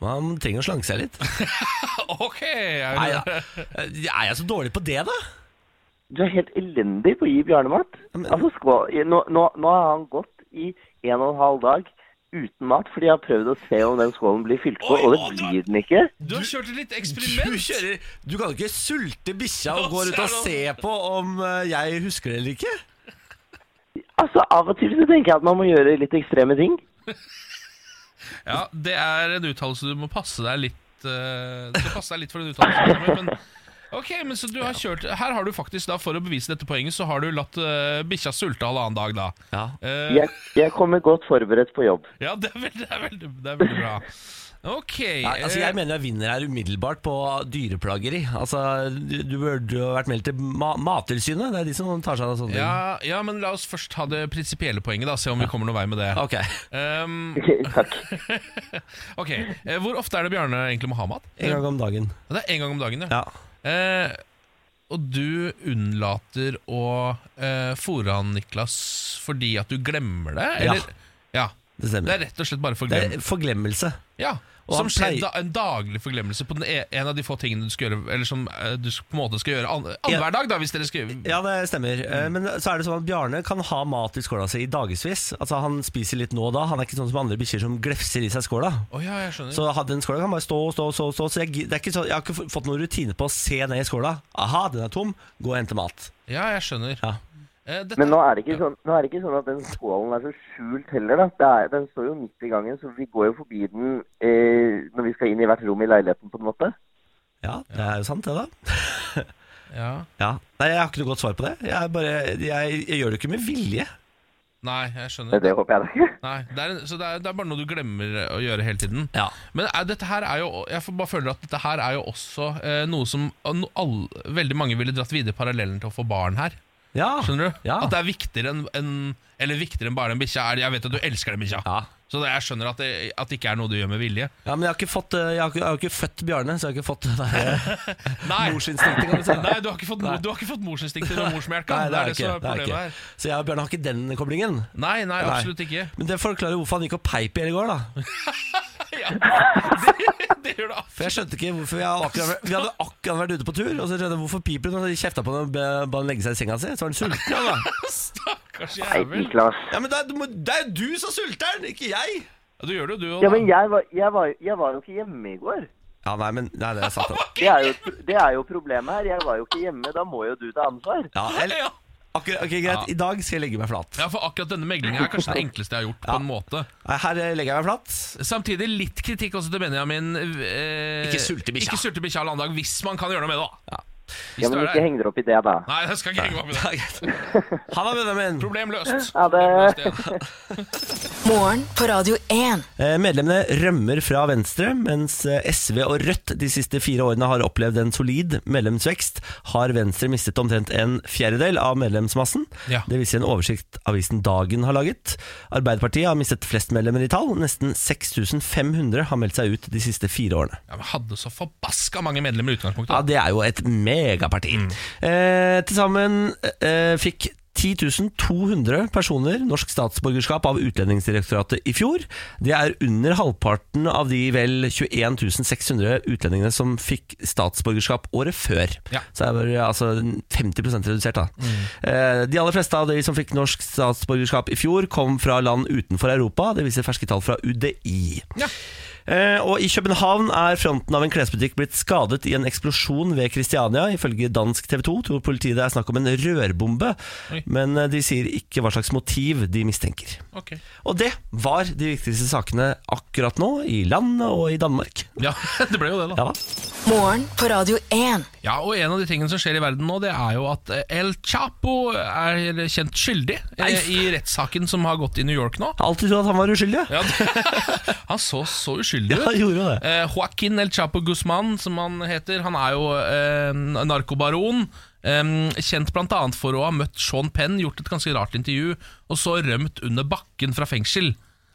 Speaker 2: Man trenger å slanke seg litt.
Speaker 3: Ok! Jeg
Speaker 2: Nei, ja. Er jeg så dårlig på det, da?
Speaker 5: Du er helt elendig på å gi Bjarne mat.
Speaker 2: men-
Speaker 5: Altså, skå- i- nå, nå, nå har han gått i en og en halv dag uten mat, fordi jeg har prøvd å se om den skålen blir fylt på,
Speaker 3: Oi,
Speaker 5: og
Speaker 3: å,
Speaker 5: det
Speaker 3: du er-
Speaker 5: blir den ikke.
Speaker 3: Du har kjørt et litt
Speaker 2: Du,
Speaker 3: eksperiment.
Speaker 2: kjører, du kan jo ikke sulte bikkja
Speaker 3: Nå
Speaker 2: og gå rundt og
Speaker 3: ser du.
Speaker 2: se på om eh, jeg husker det eller ikke.
Speaker 5: Altså, Av og til så tenker jeg at man må gjøre litt ekstreme ting.
Speaker 3: Ja, Det er en uttalelse du må passe deg litt eh, Du må passe deg litt for den uttalelsen. Men, ok, men så du har kjørt Her har du faktisk, da, for å bevise dette poenget, så har du latt uh, bikkja sulte halvannen dag, da.
Speaker 2: Ja.
Speaker 3: Eh,
Speaker 5: Jeg, jeg kommer godt forberedt på jobb.
Speaker 3: Ja, det er veldig, det er veldig, det er veldig bra. Ok.
Speaker 2: altså,
Speaker 3: eh,
Speaker 2: jeg mener jeg vinner her umiddelbart på dyreplageri. Altså, du, du burde jo vært meldt til ma Mattilsynet. Det er de som tar seg av sånne
Speaker 3: ja, ja, men la oss først ta det prinsipielle poenget, da. Se om vi kommer noen vei med det.
Speaker 2: ting. Ok,
Speaker 3: Um,
Speaker 5: Takk.
Speaker 3: ok, eh, Hvor ofte er det Bjarne egentlig må ha mat?
Speaker 2: En gang om dagen.
Speaker 3: Det er én gang om dagen, ja.
Speaker 2: Ja.
Speaker 3: Eh, og du unnlater å eh, fôre han, Niklas, fordi at du glemmer det?
Speaker 2: Ja.
Speaker 3: Eller? Ja.
Speaker 2: Det
Speaker 3: Det
Speaker 2: stemmer.
Speaker 3: er rett og slett bare
Speaker 2: Det
Speaker 3: forglemmelse.
Speaker 2: er forglemmelse.
Speaker 3: Ja,
Speaker 2: Og
Speaker 3: som
Speaker 2: han pleier-
Speaker 3: skjedde da- en daglig forglemmelse på den e en av de få tingene du skal gjøre Eller som eh, du på en måte skal gjøre an annenhver dag, da, hvis dere skal
Speaker 2: Ja, det stemmer. Eh, Men så er det sånn at Bjarne kan ha mat i skåla si i dagevis. Altså, han spiser litt nå og da. Han er ikke sånn som andre bikkjer som glefser i seg skåla.
Speaker 3: Å ja, jeg skjønner.
Speaker 2: Så ha- den skåla kan bare stå stå stå. stå så jeg, gi- det er ikke så, jeg har ikke f- fått noen rutine på å se ned i skåla. Aha, den er tom. Gå og hente mat.
Speaker 3: ja, jeg skjønner.
Speaker 2: Ja.
Speaker 3: Eh, dette-
Speaker 5: Men nå er, det ikke sånn, nå er det ikke sånn at den skålen er så skjult heller. Da. Det er, den står jo midt i gangen, så vi går jo forbi den eh, når vi skal inn i hvert rom i leiligheten, på en måte.
Speaker 2: Ja, det er jo sant, det, da.
Speaker 3: ja.
Speaker 2: Ja. Nei, jeg har ikke noe godt svar på det. Jeg, er bare, jeg, jeg gjør det ikke med vilje.
Speaker 3: Nei, jeg skjønner.
Speaker 5: Men Det håper jeg da ikke.
Speaker 3: Nei, det er, en- så det er, det er bare noe du glemmer å gjøre hele tiden.
Speaker 2: Ja.
Speaker 3: Men er, dette her er jo jeg får bare føler at dette her er jo også eh, noe som no, all, veldig mange ville dratt videre parallellen til å få barn her.
Speaker 2: ja.
Speaker 3: Skjønner du?
Speaker 2: Ja.
Speaker 3: At det er viktigere enn enn- Eller viktigere enn bare den bikkja. er- Jeg vet at du elsker den bikkja,
Speaker 2: Ja.
Speaker 3: så det, jeg skjønner at det, at det ikke er noe du gjør med vilje.
Speaker 2: ja, men jeg har ikke fått eh, Jeg har ikke, jeg har ikke født Bjarne, så jeg har ikke fått det der
Speaker 3: Nei,
Speaker 2: morsinstinktet, kan du si.
Speaker 3: Nei, du har ikke fått, mo- du har ikke fått morsinstinkter og morsmelka.
Speaker 2: Nei, det er
Speaker 3: det
Speaker 2: det ikke.
Speaker 3: som
Speaker 2: Det
Speaker 3: er
Speaker 2: er
Speaker 3: problemet
Speaker 2: ikke.
Speaker 3: her.
Speaker 2: Så jeg og Bjarne har ikke den koblingen.
Speaker 3: Nei, nei, absolutt ikke.
Speaker 2: Men det forklarer hvorfor han gikk og peip i hele går, da.
Speaker 3: Ja. Det, det gjør
Speaker 2: For
Speaker 3: ah, det absolutt.
Speaker 2: jeg skjønte ikke hvorfor Vi hadde akkurat, vi hadde akkurat vært ute på tur, og så skjønte jeg hvorfor piper hun. Og så kjefta på henne og ba ba henne legge seg i senga si. Så var hun sulten. Ja, da.
Speaker 3: Stakkars
Speaker 5: Nei,
Speaker 3: jævel.
Speaker 5: Niklas.
Speaker 2: ja, men det er, du må- det er jo du som sulter den, ikke jeg!
Speaker 3: Ja, du gjør det, jo, du òg.
Speaker 5: Ja, men jeg var, jeg, var, jeg var jo ikke hjemme i går.
Speaker 2: Ja, nei, men nei, det er sant. da.
Speaker 5: Det er, jo, det er jo problemet her. Jeg var jo ikke hjemme. Da må jo du ta ansvar.
Speaker 2: Ja, jeg,
Speaker 3: ja.
Speaker 2: akkurat, ok, Greit, i dag skal jeg legge meg flat.
Speaker 3: ja, for akkurat denne meglingen er kanskje den enkleste jeg har gjort. på en måte
Speaker 2: Nei, Her eh, legger jeg meg flat.
Speaker 3: Samtidig litt kritikk også til Benjamin. Eh,
Speaker 2: Ikke sulte bikkja.
Speaker 3: Ikke sulte bikkja alle dag, hvis man kan gjøre noe med det, da.
Speaker 2: Ja.
Speaker 5: Ja,
Speaker 3: Hvis du
Speaker 5: men
Speaker 3: er
Speaker 5: ikke
Speaker 3: der.
Speaker 5: heng dere opp i det, da.
Speaker 3: Nei, jeg skal ikke henge meg opp i
Speaker 2: Ja,
Speaker 3: det.
Speaker 2: greit. Ha det, Benjamin.
Speaker 3: Problem løst.
Speaker 5: Ha det.
Speaker 3: Problem løst, ja.
Speaker 4: Morgen på Radio 1.
Speaker 2: Eh, Medlemmene rømmer fra Venstre, mens eh, SV og Rødt de siste fire årene har opplevd en solid medlemsvekst, har Venstre mistet omtrent en fjerdedel av medlemsmassen.
Speaker 3: Ja.
Speaker 2: Det viser en oversikt avisen Dagen har laget. Arbeiderpartiet har mistet flest medlemmer i tall. Nesten 6500 har meldt seg ut de siste fire årene.
Speaker 3: Ja, men hadde så forbaska mange medlemmer i utgangspunktet.
Speaker 2: Ja, det er jo et megaparti. Eh, Til sammen eh, fikk 10 10.200 personer norsk statsborgerskap av Utlendingsdirektoratet i fjor. Det er under halvparten av de vel 21.600 utlendingene som fikk statsborgerskap året før.
Speaker 3: Ja. Mm.
Speaker 2: Så det er bare, altså 50 redusert, da. Eh, De aller fleste av de som fikk norsk statsborgerskap i fjor, kom fra land utenfor Europa. Det viser ferske tall fra UDI.
Speaker 3: Ja.
Speaker 2: Eh, og I København er fronten av en klesbutikk blitt skadet i en eksplosjon ved Kristiania. Ifølge dansk TV 2 tror politiet det er snakk om en rørbombe,
Speaker 3: Oi.
Speaker 2: men eh, de sier ikke hva slags motiv de mistenker.
Speaker 3: Ok.
Speaker 2: Og det var de viktigste sakene akkurat nå, i landet og i Danmark.
Speaker 3: Ja, det ble jo det, da.
Speaker 2: Ja da.
Speaker 4: Morgen på Radio 1.
Speaker 3: Ja, og En av de tingene som skjer i verden nå, det er jo at eh, El Chapo er kjent skyldig eh, i rettssaken som har gått i New York nå.
Speaker 2: Jeg har alltid trodd at han var uskyldig.
Speaker 3: Ja, det- han så så uskyldig
Speaker 2: Ja, han
Speaker 3: ut.
Speaker 2: gjorde jo det.
Speaker 3: Eh, Joaquin El Chapo Guzman, som han heter, han er jo eh, narkobaron. Eh, kjent bl.a. for å ha møtt Sean Penn, gjort et ganske rart intervju, og så rømt under bakken fra fengsel.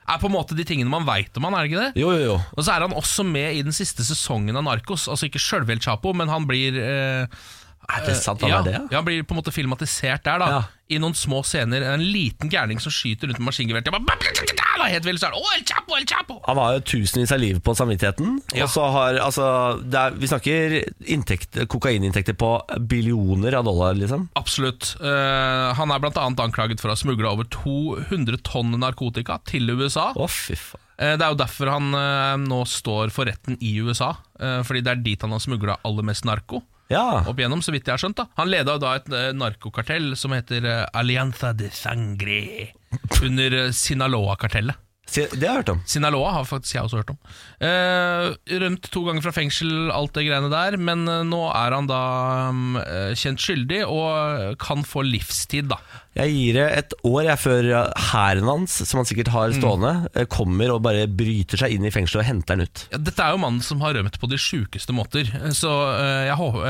Speaker 3: Er på en måte de tingene man veit om han, er det ikke det?
Speaker 2: Jo, jo, jo.
Speaker 3: Og så er han også med i den siste sesongen av Narkos. Altså ikke sjølve El Chapo, men han blir eh,
Speaker 2: Er det sant han
Speaker 3: ja,
Speaker 2: er det? ja?
Speaker 3: ja, han blir på en måte filmatisert der, da.
Speaker 2: Ja.
Speaker 3: I noen små scener. En liten gærning som skyter rundt med maskingevær. til bare- Helt vill, så er det «Å, El Chapo, El Chapo!
Speaker 2: Han har jo tusenvis av liv på samvittigheten.
Speaker 3: Ja.
Speaker 2: Og så har, altså, det er, Vi snakker inntekt, kokaininntekter på billioner av dollar, liksom.
Speaker 3: Absolutt. Eh, han er bl.a. anklaget for å ha smugla over 200 tonn narkotika til USA.
Speaker 2: Å, fy faen.
Speaker 3: Eh, det er jo derfor han eh, nå står for retten i USA, eh, fordi det er dit han har smugla aller mest narko.
Speaker 2: Ja.
Speaker 3: opp igjennom, så vidt jeg har skjønt. da Han leda jo da et eh, narkokartell som heter eh, Alianza de Sangre, under eh, Sinaloa-kartellet.
Speaker 2: Se, Det har jeg hørt om.
Speaker 3: Sinaloa har faktisk jeg også hørt om. Eh, rømt to ganger fra fengsel, alt det greiene der, men eh, nå er han da mm, eh, kjent skyldig og kan få livstid, da.
Speaker 2: Jeg gir det et år jeg før hæren hans, som han sikkert har stående, eh, kommer og bare bryter seg inn i fengselet og henter den ut.
Speaker 3: Ja, Dette er jo mannen som har rømt på de sjukeste måter, så eh, jeg hå-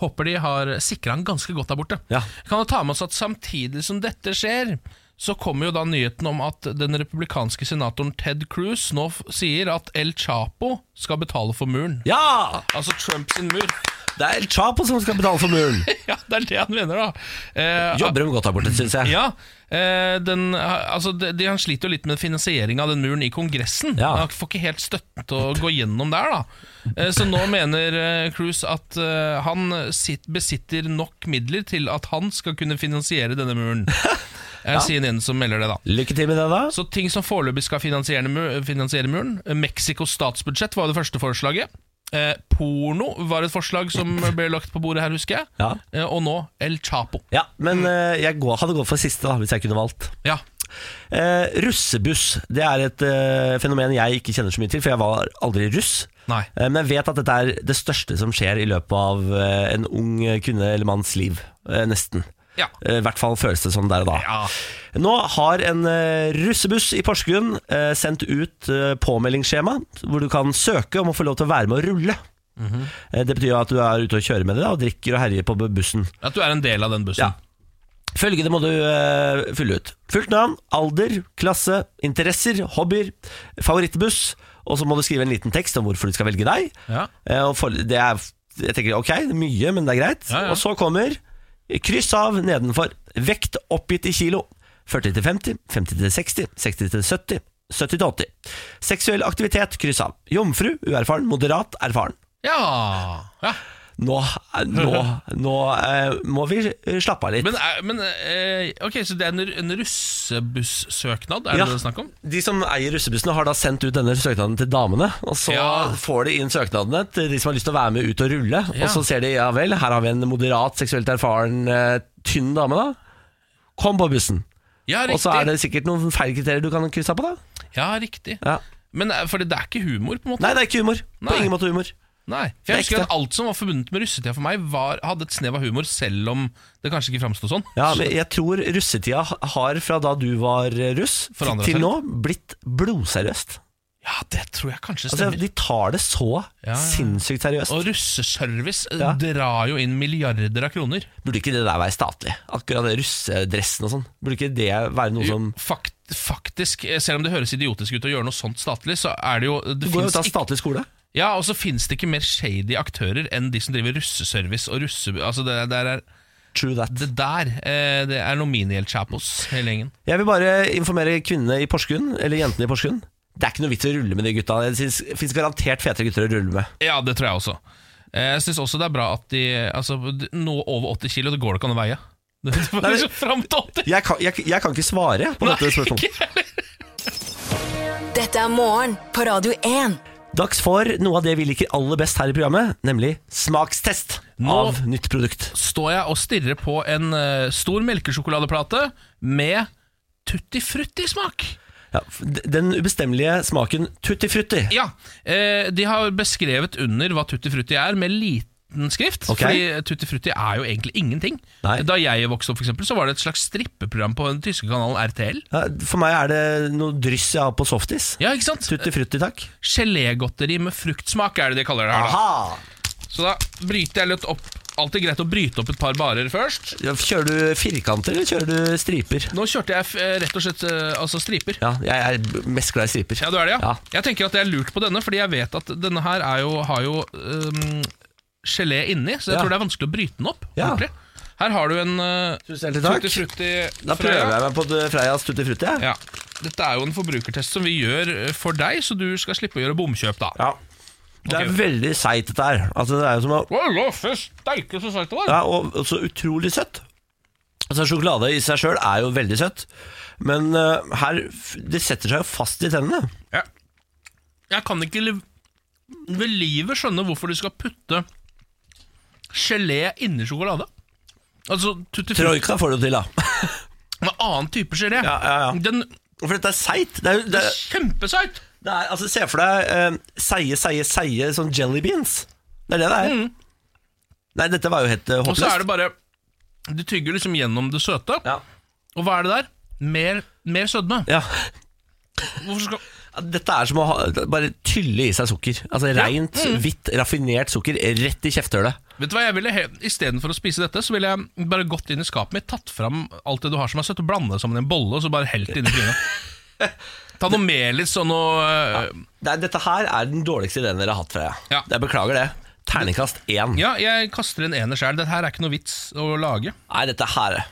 Speaker 3: håper de har sikra han ganske godt der borte.
Speaker 2: Ja.
Speaker 3: Kan jo ta med oss at samtidig som dette skjer, så kommer jo da nyheten om at den republikanske senatoren Ted Cruz nå f sier at El Chapo skal betale for muren.
Speaker 2: Ja!
Speaker 3: Altså Trump sin mur.
Speaker 2: Det er El Chapo som skal betale for muren.
Speaker 3: ja, det er det han mener, da. Eh,
Speaker 2: Jobber de godt der borte, syns jeg.
Speaker 3: Ja, eh, den, altså, de, de, Han sliter jo litt med finansiering av den muren i Kongressen.
Speaker 2: Ja.
Speaker 3: Han får ikke helt støtten til å gå gjennom der. da eh, Så nå mener eh, Cruz at eh, han sitt, besitter nok midler til at han skal kunne finansiere denne muren. Eh, Sier en som melder det, da.
Speaker 2: Lykke til med det, da.
Speaker 3: Så ting som foreløpig skal finansiere, mu- finansiere muren eh, Mexicos statsbudsjett var det første forslaget. Eh, porno var et forslag som ble lagt på bordet her, husker jeg.
Speaker 2: Ja.
Speaker 3: Eh, og nå El Chapo.
Speaker 2: Ja, men eh, jeg gå- hadde gått for siste da, hvis jeg kunne valgt.
Speaker 3: Ja,
Speaker 2: Eh, russebuss det er et eh, fenomen jeg ikke kjenner så mye til, for jeg var aldri russ.
Speaker 3: Nei.
Speaker 2: Eh, men jeg vet at dette er det største som skjer i løpet av eh, en ung kvinne eller manns liv. Eh, nesten.
Speaker 3: Ja.
Speaker 2: Eh, I hvert fall føles det sånn der og da.
Speaker 3: Ja.
Speaker 2: Nå har en eh, russebuss i Porsgrunn eh, sendt ut eh, påmeldingsskjema, hvor du kan søke om å få lov til å være med å rulle. Eh, Det betyr jo at du er ute og kjører med det da, og drikker og herjer på bu- bussen.
Speaker 3: At du er en del av den bussen.
Speaker 2: Ja. Følgende må du eh, fylle ut. Fullt navn, alder, klasse, interesser, hobbyer, favorittbuss, og så må du skrive en liten tekst om hvorfor du skal velge deg.
Speaker 3: Ja.
Speaker 2: Eh, og for, det er, jeg tenker, ok, det er mye, men det er greit.
Speaker 3: Ja, ja.
Speaker 2: Og så kommer kryss av nedenfor. Vekt oppgitt i kilo. 40 til 50, 50 til 60, 60 til 70, 70 til 80. Seksuell aktivitet, kryss av. Jomfru, uerfaren, moderat, erfaren.
Speaker 3: Ja, ja.
Speaker 2: Nå, nå, nå eh, må vi slappe av litt.
Speaker 3: Men, er- men eh, ok, så det er en, r- en russebussøknad, er
Speaker 2: Ja.
Speaker 3: det det det er snakk om?
Speaker 2: De som eier russebussene har da sendt ut denne søknaden til damene, og så
Speaker 3: Ja.
Speaker 2: får de inn søknadene til de som har lyst til å være med ut og rulle,
Speaker 3: Ja.
Speaker 2: og så ser de, ja vel, her har vi en moderat, seksuelt erfaren, eh, tynn dame da, kom på bussen.
Speaker 3: Ja,
Speaker 2: Og
Speaker 3: riktig.
Speaker 2: så er det sikkert noen feil kriterier du kan krysse av på da.
Speaker 3: Ja, riktig.
Speaker 2: Ja.
Speaker 3: Men eh, fordi det er ikke humor, på en måte?
Speaker 2: Nei, det er ikke humor. På
Speaker 3: Nei.
Speaker 2: ingen måte humor.
Speaker 3: Nei.
Speaker 2: Det
Speaker 3: For
Speaker 2: er
Speaker 3: jeg husker
Speaker 2: ekte.
Speaker 3: at alt som var forbundet med russetida for meg, var, hadde et snev av humor, selv om det kanskje ikke framsto sånn.
Speaker 2: Ja, men jeg tror russetida har fra da du var eh, russ til,
Speaker 3: Forandret seg
Speaker 2: til nå blitt blodseriøst.
Speaker 3: Ja, det tror jeg kanskje
Speaker 2: Altså,
Speaker 3: stemmer.
Speaker 2: de tar det så
Speaker 3: ja.
Speaker 2: sinnssykt seriøst.
Speaker 3: og russeservice eh,
Speaker 2: Ja.
Speaker 3: drar jo inn milliarder av kroner.
Speaker 2: Burde ikke det der være statlig? Akkurat det russedressen og sånn. Burde ikke det være noe som
Speaker 3: Fakt, faktisk, eh, selv om det høres idiotisk ut å gjøre noe sånt statlig, så er det jo Det
Speaker 2: Du går jo
Speaker 3: finnes
Speaker 2: til statlig skole.
Speaker 3: Ja, og så finnes det ikke mer shady aktører enn de som driver russeservice og russe... Altså det, det er,
Speaker 2: True that.
Speaker 3: Det der eh, det er noe mini-El-Chapos, hele gjengen.
Speaker 2: Jeg vil bare informere kvinnene i Porsgrunn, eller jentene i Porsgrunn. Det er ikke noe vits å rulle med de gutta. Det fins garantert fetere gutter å rulle med.
Speaker 3: Ja, det tror jeg også. Eh, Jeg syns også det er bra at de altså, d- Nå over 80 kilo, det går det ikke an å veie. Det er bare så fram til 80
Speaker 2: Jeg kan, jeg, jeg kan ikke svare på dette spørsmålet.
Speaker 4: Dette er morgen på Radio 1.
Speaker 2: Dags for noe av det vi liker aller best her i programmet, nemlig smakstest
Speaker 3: Nå-
Speaker 2: av nytt produkt.
Speaker 3: Står jeg og stirrer på en eh, stor melkesjokoladeplate med tutti frutti-smak.
Speaker 2: Ja, f- d- den ubestemmelige smaken tutti frutti.
Speaker 3: Ja, eh, de har beskrevet under hva tutti frutti er med liten skrift.
Speaker 2: Ok.
Speaker 3: Fordi eh, tutti frutti er jo egentlig ingenting.
Speaker 2: Nei.
Speaker 3: Da jeg vokste opp, for eksempel, så var det et slags strippeprogram på den tyske kanalen RTL.
Speaker 2: Ja, for meg er det noe dryss jeg har på softis.
Speaker 3: Ja, ikke sant?
Speaker 2: Tutti frutti, takk.
Speaker 3: Gelégodteri med fruktsmak er det de kaller det her. Da.
Speaker 2: Aha!
Speaker 3: Så da bryter jeg litt opp. Alltid greit å bryte opp et par barer først.
Speaker 2: Ja, Kjører du firkanter, eller kjører du striper?
Speaker 3: Nå kjørte jeg eh, rett og slett eh, altså striper.
Speaker 2: Ja, jeg er mest glad i striper.
Speaker 3: Ja, du er det, ja.
Speaker 2: Ja.
Speaker 3: Jeg tenker at jeg er lurt på denne, fordi jeg vet at denne her er jo, har jo øhm, gelé inni, så jeg
Speaker 2: Ja.
Speaker 3: tror det er vanskelig å bryte den opp.
Speaker 2: Ja.
Speaker 3: ordentlig. Her har du en uh,
Speaker 2: Tusen hjertelig takk.
Speaker 3: tutti frutti
Speaker 2: Da prøver jeg meg på det Freias tutti frutti. jeg.
Speaker 3: Ja. Dette er jo en forbrukertest som vi gjør øh, for deg, så du skal slippe å gjøre bomkjøp, da.
Speaker 2: Ja. Det er
Speaker 3: Ok.
Speaker 2: veldig seigt, dette her. Altså, det er jo som å
Speaker 3: Åh, fy steike, så søtt det var!
Speaker 2: ja, og, og så utrolig søtt. Altså, sjokolade i seg sjøl er jo veldig søtt, men eh, her f- Det setter seg jo fast i tennene.
Speaker 3: Ja. Jeg kan ikke liv ved livet skjønne hvorfor de skal putte gelé inni sjokolade. Altså tutti frutti
Speaker 2: Troika får det jo til, da.
Speaker 3: med annen type gelé.
Speaker 2: Ja, ja, ja.
Speaker 3: Den
Speaker 2: For dette er seigt. Det er, jo- det,
Speaker 3: Det er kjempeseit!
Speaker 2: det er, altså, se for deg eh, seige, seige, seige sånn jelly beans. Det er det det er. Nei, dette var jo helt eh,
Speaker 3: Mm. Og så
Speaker 2: håpløst.
Speaker 3: er det bare Du tygger liksom gjennom det søte.
Speaker 2: Ja.
Speaker 3: Og hva er det der? Mer, mer sødme.
Speaker 2: Ja.
Speaker 3: Hvorfor skal
Speaker 2: Dette er som å ha, bare tylle i seg sukker. Altså Rent,
Speaker 3: Mm.
Speaker 2: hvitt, raffinert sukker rett i kjeftehullet.
Speaker 3: Vet du hva jeg ville he- Istedenfor å spise dette, så ville jeg bare gått inn i skapet mitt, tatt fram alt det du har som er søtt, og blande det sammen i en bolle, og så bare helt det inn i trynet. Ta noe melis og noe øh,
Speaker 2: Nei, dette her er den dårligste ideen dere har hatt fra jeg.
Speaker 3: Ja.
Speaker 2: Jeg beklager det. Terningkast én.
Speaker 3: Ja, jeg kaster en ener sjæl. Dette her er ikke noe vits å lage.
Speaker 2: Nei, dette her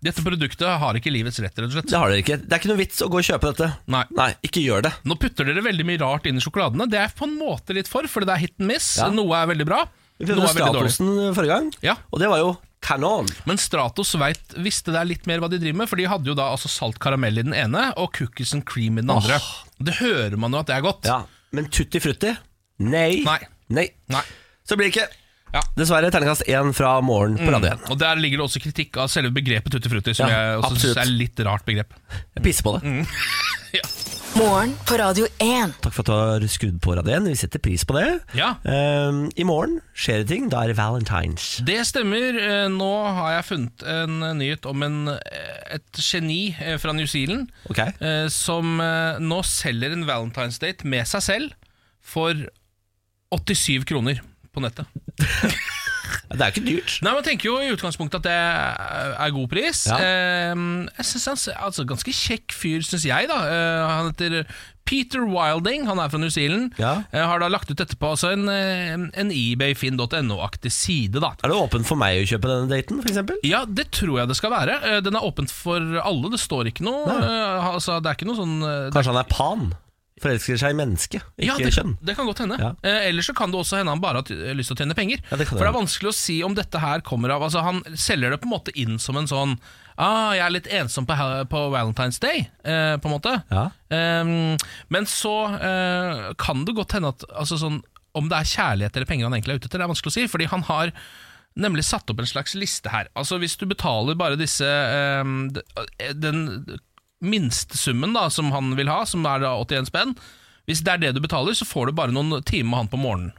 Speaker 3: Dette produktet har ikke livets rett, rett og slett.
Speaker 2: Det har dere ikke. Det er ikke noe vits å gå og kjøpe dette.
Speaker 3: Nei.
Speaker 2: ikke gjør det.
Speaker 3: Nå putter dere veldig mye rart inn i sjokoladene. Det er jeg på en måte litt for, fordi det er hit and miss.
Speaker 2: Ja.
Speaker 3: Noe er veldig bra,
Speaker 2: Vi
Speaker 3: noe
Speaker 2: prøvde
Speaker 3: er veldig dårlig.
Speaker 2: Stratosen forrige gang,
Speaker 3: Ja.
Speaker 2: og det var jo kanon.
Speaker 3: Men Stratos vet, visste der litt mer hva de driver med, for de hadde jo da altså salt karamell i den ene og cookies and cream i den andre. Det hører man jo at det er godt.
Speaker 2: Ja. Men tutti frutti? Nei.
Speaker 3: Nei. Nei.
Speaker 2: Så blir det ikke.
Speaker 3: Ja. Mm.
Speaker 2: Dessverre terningkast én fra morgen på Radio 1.
Speaker 3: Og der ligger det også kritikk av selve begrepet tutti frutti, som
Speaker 2: Ja,
Speaker 3: jeg også
Speaker 2: absolutt.
Speaker 3: synes er litt rart begrep.
Speaker 2: Jeg pisser på det.
Speaker 4: Morgen på Radio 1.
Speaker 2: Takk for at du har skrudd på Radio 1. Vi setter pris på det.
Speaker 3: Ja.
Speaker 2: Ehm, I morgen skjer det ting. Da er det Valentine's.
Speaker 3: Det stemmer. Eh, Nå har jeg funnet en eh, nyhet om en, eh, et geni eh, fra New Zealand
Speaker 2: Ok.
Speaker 3: eh, som eh, nå selger en Valentine's Date med seg selv for 87 kroner på nettet.
Speaker 2: Det er ikke dyrt.
Speaker 3: Nei, Man tenker jo i utgangspunktet at det er god pris.
Speaker 2: Ja.
Speaker 3: Eh, Jeg synes han ser- altså, Ganske kjekk fyr, syns jeg. da Eh, Han heter Peter Wilding, han er fra New Zealand.
Speaker 2: Ja.
Speaker 3: Eh, Har da lagt ut dette på altså en, eh, en ebayfinn.no-aktig side. da
Speaker 2: Er det åpen for meg å kjøpe denne daten, f.eks.?
Speaker 3: ja, det tror jeg det skal være. Eh, Den er åpent for alle. Det står ikke noe. eh, Altså, det er ikke noe sånn eh, det-
Speaker 2: Kanskje han er pan? Forelsker seg i menneske, ikke
Speaker 3: ja, det,
Speaker 2: kjønn.
Speaker 3: det kan godt hende.
Speaker 2: Ja.
Speaker 3: Eh, ellers så kan det også hende han bare har ty- eh, lyst til å tjene penger.
Speaker 2: Ja, det kan
Speaker 3: For det er
Speaker 2: hende.
Speaker 3: vanskelig å si om dette her kommer av Altså Han selger det på en måte inn som en sånn Ah, jeg er litt ensom på, he- på Valentine's Day, eh, på en måte.
Speaker 2: Ja.
Speaker 3: Ehm, men så eh, kan det godt hende at altså sånn, om det er kjærlighet eller penger han egentlig er ute etter, det er vanskelig å si. Fordi han har nemlig satt opp en slags liste her. Altså Hvis du betaler bare disse ehm, d- eh, Den minstesummen da som han vil ha, som er da 81 spenn Hvis det er det du betaler, så får du bare noen timer med han på morgenen.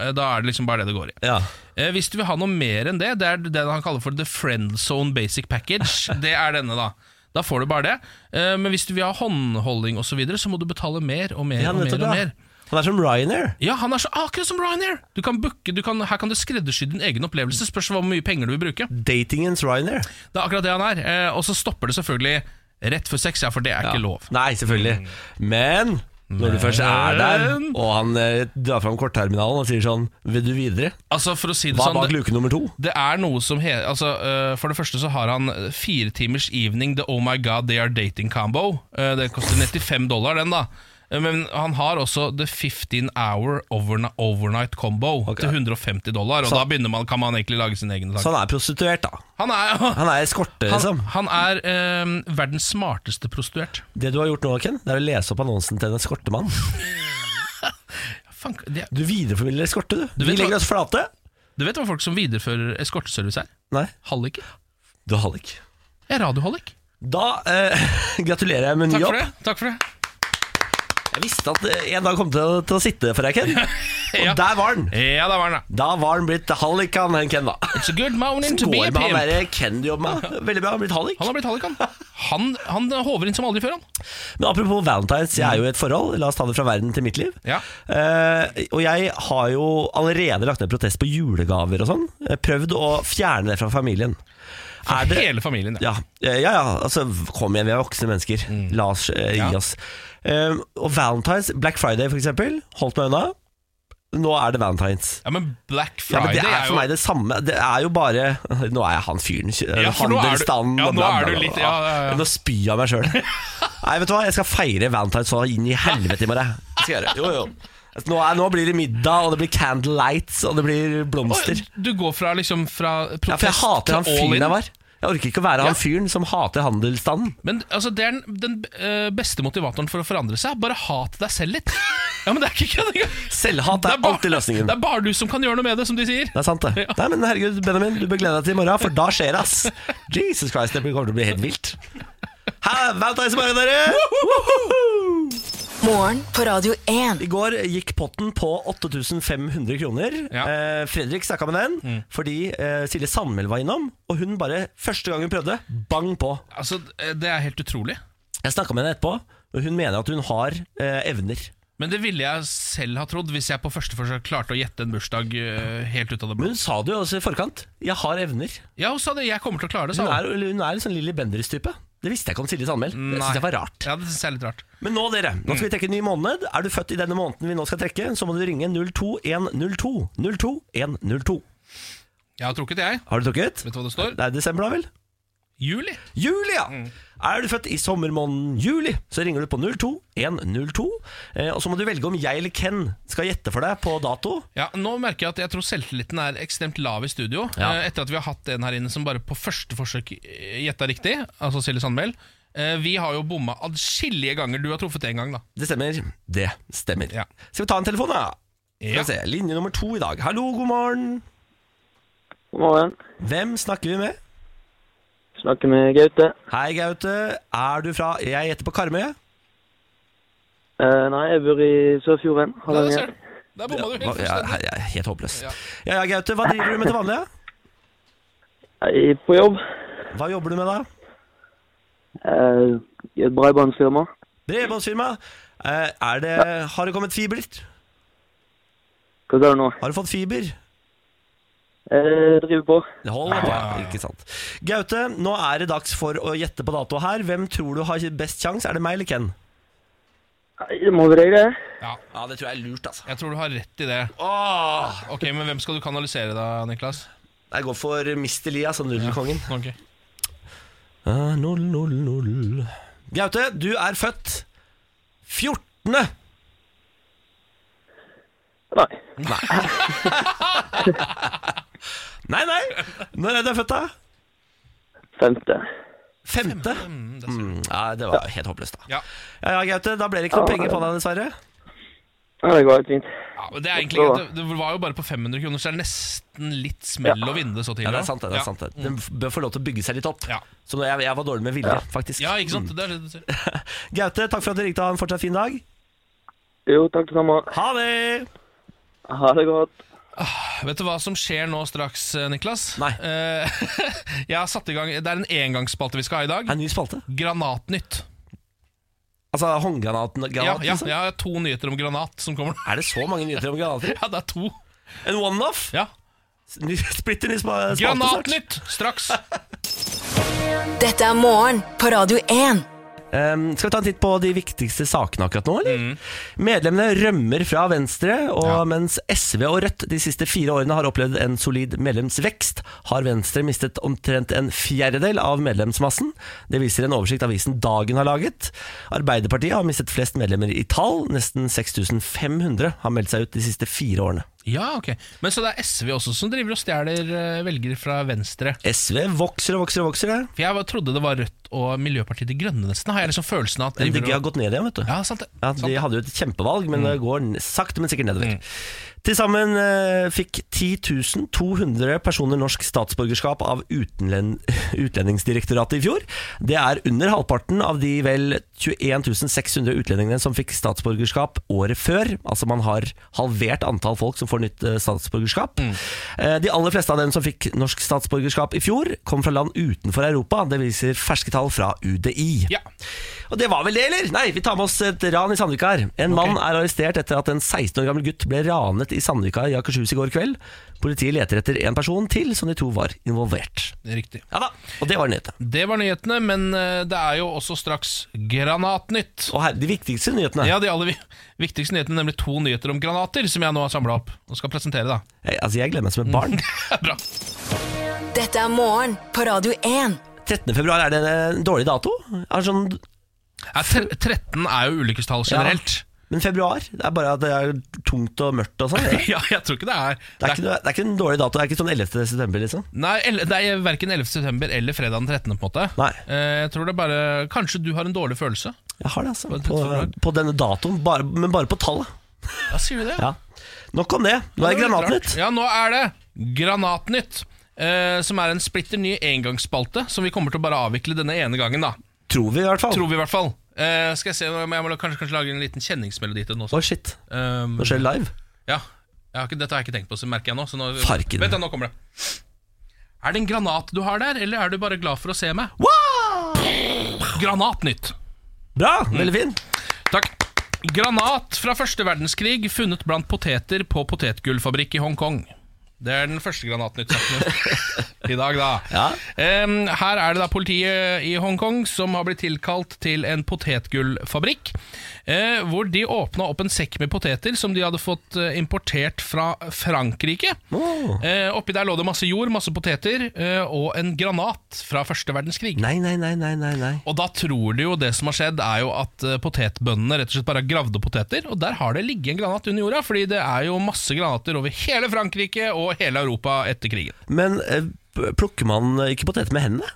Speaker 3: Eh, Da er det liksom bare det det går i.
Speaker 2: Ja.
Speaker 3: Eh, hvis du vil ha noe mer enn det, det er den han kaller for The Friend Zone Basic Package. Det er denne, da. Da får du bare det. Eh, men hvis du vil ha håndholding osv., så, videre, så må du betale mer og mer.
Speaker 2: Ja,
Speaker 3: og mer,
Speaker 2: nettopp,
Speaker 3: og
Speaker 2: ja.
Speaker 3: mer.
Speaker 2: Han er som Ryanair.
Speaker 3: Ja, han er så akkurat som Ryanair! Du kan booke, du kan, her kan du skreddersy din egen opplevelse. Spørs hvor mye penger du vil bruke.
Speaker 2: Datingens Ryanair.
Speaker 3: Det er akkurat det han er. Eh, og så stopper det selvfølgelig rett før sex, ja, for det er ikke lov.
Speaker 2: Nei, selvfølgelig. Men Når du først er der, og han eh, drar fram kortterminalen og sier sånn Vil du videre?
Speaker 3: Altså, for å si det
Speaker 2: Hva
Speaker 3: sånn
Speaker 2: bak
Speaker 3: det,
Speaker 2: luke nummer to?
Speaker 3: det er noe som he, altså, øh, For det første så har han øh, fire timers evening The Oh My God They Are Dating Combo. Øh, det koster 95 dollar, den, da. Eh, Men han har også The 15 Hour Overna- Overnight Combo
Speaker 2: Ok.
Speaker 3: til 150 dollar. Og
Speaker 2: Så-
Speaker 3: da begynner man, kan man egentlig lage sin egen
Speaker 2: Så
Speaker 3: sang.
Speaker 2: han er prostituert, da.
Speaker 3: Han er,
Speaker 2: Han er eskorte,
Speaker 3: han,
Speaker 2: liksom.
Speaker 3: han er øhm, verdens smarteste prostituert.
Speaker 2: Det du har gjort nå, Ken, det er å lese opp annonsen til en eskortemann.
Speaker 3: Fank, det,
Speaker 2: Du videreformidler eskorte, du.
Speaker 3: Du
Speaker 2: Vi
Speaker 3: vet
Speaker 2: legger
Speaker 3: hva-
Speaker 2: oss flate.
Speaker 3: du vet hva folk som viderefører eskorteservice er?
Speaker 2: Nei,
Speaker 3: Halliker.
Speaker 2: du har det ikke.
Speaker 3: Jeg er radiohallik.
Speaker 2: Da eh, gratulerer jeg med ny
Speaker 3: Takk
Speaker 2: jobb.
Speaker 3: for det. Takk for det.
Speaker 2: Jeg visste at eh, en dag kom til å, til å sitte for deg, Ken. Og
Speaker 3: Ja.
Speaker 2: der var den.
Speaker 3: Ja, der var den, da.
Speaker 2: Da var den blitt hallikan, den Ken, da.
Speaker 3: It's a good morning to
Speaker 2: Går
Speaker 3: be a
Speaker 2: med han
Speaker 3: pimp.
Speaker 2: derre Ken du jobber med. Veldig bra, han har blitt hallik.
Speaker 3: Han har blitt hallik, han. Han, han håver inn som aldri før, han.
Speaker 2: Men apropos valentines, jeg er jo i et forhold. La oss ta det fra verden til mitt liv.
Speaker 3: Ja.
Speaker 2: Eh, og jeg har jo allerede lagt ned protest på julegaver og sånn. Eh, Prøvd å fjerne det fra familien. Er det-
Speaker 3: Hele familien. Ja.
Speaker 2: ja, ja, ja, altså kom igjen, vi er voksne mennesker. La oss eh, gi
Speaker 3: Mm. Ja.
Speaker 2: oss. Eh, og valentines, Black Friday for eksempel, holdt meg unna. Nå er det valentines.
Speaker 3: ja, men Black
Speaker 2: Ja,
Speaker 3: Friday
Speaker 2: men Det er for
Speaker 3: jo
Speaker 2: meg det samme. Det er jo bare Nå er jeg han fyren.
Speaker 3: Ja, for nå er du-
Speaker 2: handelsstanden
Speaker 3: ja,
Speaker 2: og
Speaker 3: nå
Speaker 2: bla, bla,
Speaker 3: er du
Speaker 2: bla,
Speaker 3: litt-
Speaker 2: bla.
Speaker 3: ja, ja, ja.
Speaker 2: Nå spyr jeg av meg sjøl. Nei, vet du hva, jeg skal feire Valentine's så inn i helvete i morgen. Det Skal jeg gjøre. Jo, jo. Nå, er, nå blir det middag, og det blir candle lights, og det blir blomster.
Speaker 3: Du går fra liksom fra
Speaker 2: Ja, for jeg
Speaker 3: protest
Speaker 2: hater han
Speaker 3: til all
Speaker 2: fyren
Speaker 3: in.
Speaker 2: jeg var. Jeg orker ikke å være
Speaker 3: Ja.
Speaker 2: han fyren som hater handelsstanden.
Speaker 3: Men altså, det er den, den eh, beste motivatoren for å forandre seg. Bare hat deg selv litt. Ja, men det er ikke kødd engang!
Speaker 2: Selvhat er alltid løsningen.
Speaker 3: det er bare du som kan gjøre noe med det, som de sier.
Speaker 2: Det er sant, det.
Speaker 3: Ja.
Speaker 2: Nei, men herregud, Benjamin, du bør glede deg til i morgen, for da skjer det, ass. Jesus Christ, det kommer til å bli helt vilt. Ha, Valentine's i morgen, dere! Woohoo!
Speaker 4: Morgen på Radio 1.
Speaker 2: I går gikk potten på 8500 kroner.
Speaker 3: Ja. Mm.
Speaker 2: Eh, Fredrik snakka med den fordi eh, Silje Sandmæl var innom, og hun bare første gang hun prøvde, bang på.
Speaker 3: Altså, Det er helt utrolig.
Speaker 2: Jeg snakka med henne etterpå, og hun mener at hun har eh, evner.
Speaker 3: Men det ville jeg selv ha trodd hvis jeg på første forsøk klarte å gjette en bursdag eh, helt ut av det blå.
Speaker 2: Men hun sa det jo også i forkant. 'Jeg har evner'.
Speaker 3: Ja, hun sa det. Jeg kommer til å klare det, sa
Speaker 2: Hun
Speaker 3: hun.
Speaker 2: er, hun er en sånn Lilly Bendriss-type. Det visste jeg ikke om Silje Sandmæl. Det
Speaker 3: Nei.
Speaker 2: synes jeg var rart.
Speaker 3: Ja, det synes jeg er litt rart.
Speaker 2: Men nå, dere. Nå
Speaker 3: Mm.
Speaker 2: skal vi trekke en ny måned. Er du født i denne måneden vi nå skal trekke, så må du ringe 02102. 02102.
Speaker 3: Jeg har trukket, jeg.
Speaker 2: Har du trukket?
Speaker 3: Vet du hva det står? Mm.
Speaker 2: Det er desember, da vel?
Speaker 3: Juli.
Speaker 2: Juli, ja! Er du født i sommermåneden juli, så ringer du på 02102. Eh, og så må du velge om jeg eller Ken skal gjette for deg på dato.
Speaker 3: Ja, Nå merker jeg at jeg tror selvtilliten er ekstremt lav i studio.
Speaker 2: Ja.
Speaker 3: Eh, etter at vi har hatt en her inne som bare på første forsøk eh, gjetta riktig, altså Silje Sandmæl. Eh, vi har jo bomma adskillige ganger. Du har truffet én gang, da.
Speaker 2: Det stemmer. Det stemmer.
Speaker 3: Ja.
Speaker 2: Skal vi ta en telefon, da? Skal
Speaker 3: Ja.
Speaker 2: vi se, Linje nummer to i dag. Hallo, god morgen.
Speaker 5: God morgen.
Speaker 2: Hvem snakker vi med?
Speaker 5: Snakker med Gaute.
Speaker 2: Hei, Gaute. Er du fra Jeg gjetter på Karmøy.
Speaker 5: Eh, nei, jeg bor i Sørfjorden.
Speaker 3: Der,
Speaker 5: Hardanger.
Speaker 3: ser du. Der bomma du helt
Speaker 2: Hva- Jeg
Speaker 3: fullstendig.
Speaker 2: jeg er helt håpløs.
Speaker 3: Ja.
Speaker 2: Ja ja, Gaute. Hva driver du med til vanlig? da?
Speaker 5: Jeg er Eh, på jobb
Speaker 2: Hva jobber du med, da?
Speaker 5: eh, i et bredbåndsfirma.
Speaker 2: Bredbåndsfirma. Eh, Er det Har det kommet fiber?
Speaker 5: Hva sa du nå?
Speaker 2: Har du fått fiber?
Speaker 5: Eh, driver på.
Speaker 2: Det holder på, ja. ikke sant Gaute, nå er det dags for å gjette på dato her Hvem tror du har best sjans? Er det meg eller Ken?
Speaker 5: Nei, det må være deg, det.
Speaker 3: Ja,
Speaker 2: Ja, det tror jeg er lurt altså
Speaker 3: jeg tror du har rett i det.
Speaker 2: Åh,
Speaker 3: Ok, Men hvem skal du kanalisere da, Niklas?
Speaker 2: jeg går for Mr. Lee, altså nudelkongen
Speaker 3: Ok.
Speaker 2: Ah, Null, null, null Gaute, du er født 14.
Speaker 5: Nei.
Speaker 2: Nei, nei Når er du født da?
Speaker 5: Femte.
Speaker 2: Femte
Speaker 3: Mm, det ser du.
Speaker 2: Ja, det var helt håpløst da
Speaker 3: Ja.
Speaker 2: Ja, ja, Gaute, da ble det ikke noe penger på deg dessverre
Speaker 5: Ja, det går helt fint.
Speaker 3: Ja, men det, er egentlig, greit. det det var jo bare på 500 kroner, så det er nesten litt smell å vinne det så tidlig.
Speaker 2: Ja, det
Speaker 3: da.
Speaker 2: er sant det, det
Speaker 3: Ja. Mm.
Speaker 2: er sant det Den bør få lov til å bygge seg litt opp
Speaker 3: Ja.
Speaker 2: Så nå, jeg, jeg var dårlig med vilje, faktisk Mm.
Speaker 3: Ja, ikke sant? Det er det du sier.
Speaker 2: Gaute, takk for at du ringte Ha en fortsatt fin dag
Speaker 5: Jo, takk det samme.
Speaker 2: Ha det!
Speaker 5: Ha det godt.
Speaker 3: Vet du hva som skjer nå straks, eh, Niklas?
Speaker 2: Nei.
Speaker 3: Eh, jeg har satt i gang, Det er en engangsspalte vi skal ha i dag.
Speaker 2: Er det ny spalte?
Speaker 3: Granatnytt.
Speaker 2: Altså håndgranaten
Speaker 3: Ja,
Speaker 2: granat,
Speaker 3: ja,
Speaker 2: liksom?
Speaker 3: jeg har to nyheter om granat som kommer. nå.
Speaker 2: Er det så mange nyheter om granater?
Speaker 3: Ja, det er to.
Speaker 2: En one-off?
Speaker 3: Ja.
Speaker 2: Ny- Splitter ny spa- spalte snart.
Speaker 3: Granatnytt straks!
Speaker 4: Dette er morgen på Radio 1.
Speaker 2: Ehm, skal vi ta en titt på de viktigste sakene akkurat nå, eller? Medlemmene rømmer fra Venstre, og mens SV og Rødt de siste fire årene har opplevd en solid medlemsvekst, har Venstre mistet omtrent en fjerdedel av medlemsmassen. Det viser en oversikt avisen Dagen har laget. Arbeiderpartiet har mistet flest medlemmer i tall. Nesten 6500 har meldt seg ut de siste fire årene.
Speaker 3: Ja, ok Men så det er SV også som driver og stjeler eh, velgere fra Venstre.
Speaker 2: SV vokser og vokser og vokser. det.
Speaker 3: For jeg var- trodde det var Rødt og Miljøpartiet De Grønne, nesten. Har jeg liksom følelsen av at driver
Speaker 2: MDG har
Speaker 3: og-
Speaker 2: gått ned igjen, vet du.
Speaker 3: Ja, sant det.
Speaker 2: Ja,
Speaker 3: sant
Speaker 2: de
Speaker 3: det.
Speaker 2: hadde jo et kjempevalg, men det går n- sakte, men sikkert nedover. Til sammen eh, fikk 10.200 personer norsk statsborgerskap av utlen Utlendingsdirektoratet i fjor. Det er under halvparten av de vel 21.600 utlendingene som fikk statsborgerskap året før. Altså man har halvert antall folk som får nytt eh, statsborgerskap. Eh, De aller fleste av dem som fikk norsk statsborgerskap i fjor, kom fra land utenfor Europa. Det viser ferske tall fra UDI.
Speaker 3: Ja.
Speaker 2: Og det var vel det, eller? Nei, vi tar med oss et ran i Sandvika her. En mann er arrestert etter at en 16 år gammel gutt ble ranet i Sandvika i Akershus i går kveld. Politiet leter etter en person til som de to var involvert.
Speaker 3: Riktig.
Speaker 2: Ja da, og det var nyhetene.
Speaker 3: Det var nyhetene, men eh, det er jo også straks Granatnytt.
Speaker 2: Og her, de viktigste nyhetene.
Speaker 3: Ja, de aller vi- viktigste nyhetene, nemlig to nyheter om granater, som jeg nå har samla opp og skal presentere, da.
Speaker 2: Jeg, altså, jeg gleder meg som et barn.
Speaker 3: Bra.
Speaker 4: Dette er morgen på Radio 1.
Speaker 2: 13. februar, er det en dårlig dato? Er det sånn,
Speaker 3: Ja, tre- 13 er jo ulykkestall generelt.
Speaker 2: men februar? Det er bare at det er tungt og mørkt og sånn.
Speaker 3: Ja.
Speaker 2: Det,
Speaker 3: jeg tror ikke det er
Speaker 2: det, er ikke- det er ikke en dårlig dato. Det er ikke sånn 11. september, liksom.
Speaker 3: Nei, el- det er verken 11. september eller fredag den 13. på en måte.
Speaker 2: Nei.
Speaker 3: Eh, Jeg tror det er bare Kanskje du har en dårlig følelse?
Speaker 2: Jeg har det, altså.
Speaker 3: Bare
Speaker 2: På,
Speaker 3: februar.
Speaker 2: på denne datoen, bare, men bare på tallet.
Speaker 3: Ja, sier du det?
Speaker 2: Ja. Nok om det. Nå er det
Speaker 3: var litt
Speaker 2: Granatnytt.
Speaker 3: rart. Ja, nå er det Granatnytt. eh, som er en splitter ny engangsspalte som vi kommer til å bare avvikle denne ene gangen. da
Speaker 2: Tror vi, i hvert fall.
Speaker 3: Tror vi i hvert fall. Eh, skal jeg se, jeg må kanskje, kanskje lage en liten kjenningsmelodi til den
Speaker 2: Å,
Speaker 3: også.
Speaker 2: shit.
Speaker 3: Um,
Speaker 2: Nå skjer det live.
Speaker 3: ja. jeg har ikke, dette har jeg ikke tenkt på, så merker jeg nå. Så nå
Speaker 2: Farken.
Speaker 3: Vent, da, nå kommer det. Er det en granat du har der, eller er du bare glad for å se meg? Granatnytt.
Speaker 2: Bra! Veldig fin.
Speaker 3: Takk. Granat fra første verdenskrig funnet blant poteter på potetgullfabrikk i Hongkong. Det er den første granatnyttsaken i dag, da.
Speaker 2: Ja.
Speaker 3: Em, her er det da politiet i Hongkong som har blitt tilkalt til en potetgullfabrikk. eh, hvor de åpna opp en sekk med poteter som de hadde fått eh, importert fra Frankrike.
Speaker 2: Åh.
Speaker 3: Eh, oppi der lå det masse jord, masse poteter eh, og en granat fra første verdenskrig.
Speaker 2: Nei, nei, nei, nei, nei, nei.
Speaker 3: Og da tror du jo det som har skjedd er jo at eh, potetbøndene rett og slett bare har gravde poteter, og der har det ligget en granat under jorda, fordi det er jo masse granater over hele Frankrike og hele Europa etter krigen.
Speaker 2: Men eh, p- plukker man eh, ikke potet med hendene?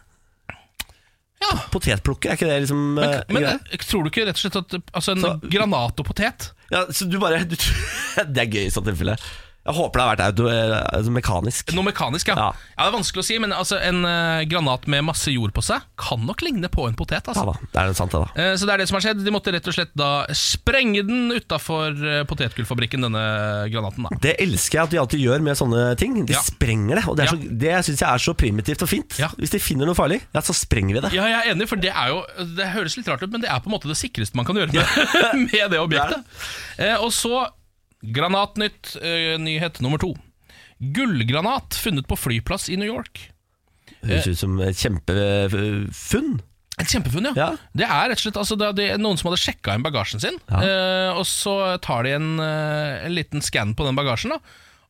Speaker 3: Ja,
Speaker 2: Potetplukke, er ikke det liksom
Speaker 3: men,
Speaker 2: eh,
Speaker 3: men
Speaker 2: greia?
Speaker 3: eh, tror du ikke rett og slett at eh, altså en
Speaker 2: Så-
Speaker 3: granat og potet
Speaker 2: ja, Så du bare du, Det er gøy i sånt tilfelle. Jeg håper det har vært auto, eh, altså mekanisk.
Speaker 3: Noe mekanisk, ja.
Speaker 2: Ja.
Speaker 3: ja. Det er vanskelig å si, men altså en eh, granat med masse jord på seg kan nok ligne på en potet.
Speaker 2: Ja
Speaker 3: altså.
Speaker 2: da, det er det sant, det, da.
Speaker 3: Eh, Så det er det som har skjedd. De måtte rett og slett da sprenge den utafor eh, potetgullfabrikken, denne granaten. da
Speaker 2: Det elsker jeg at de alltid gjør med sånne ting. De
Speaker 3: Ja.
Speaker 2: sprenger det. Og det, er
Speaker 3: Ja.
Speaker 2: så, det syns jeg er så primitivt og fint.
Speaker 3: Ja.
Speaker 2: Hvis de finner noe farlig, ja, så sprenger vi det.
Speaker 3: Ja, jeg er enig, for det er jo Det høres litt rart ut, men det er på en måte det sikreste man kan gjøre med, med det objektet. Eh, og så Granatnytt, eh, nyhet nummer to. Gullgranat funnet på flyplass i New York.
Speaker 2: Høres ut som et kjempefunn.
Speaker 3: Et kjempefunn, ja.
Speaker 2: Ja.
Speaker 3: Det er rett og slett altså, det er- det er noen som hadde sjekka inn bagasjen sin,
Speaker 2: Ja.
Speaker 3: eh, og så tar de en, eh, en liten skann på den bagasjen. da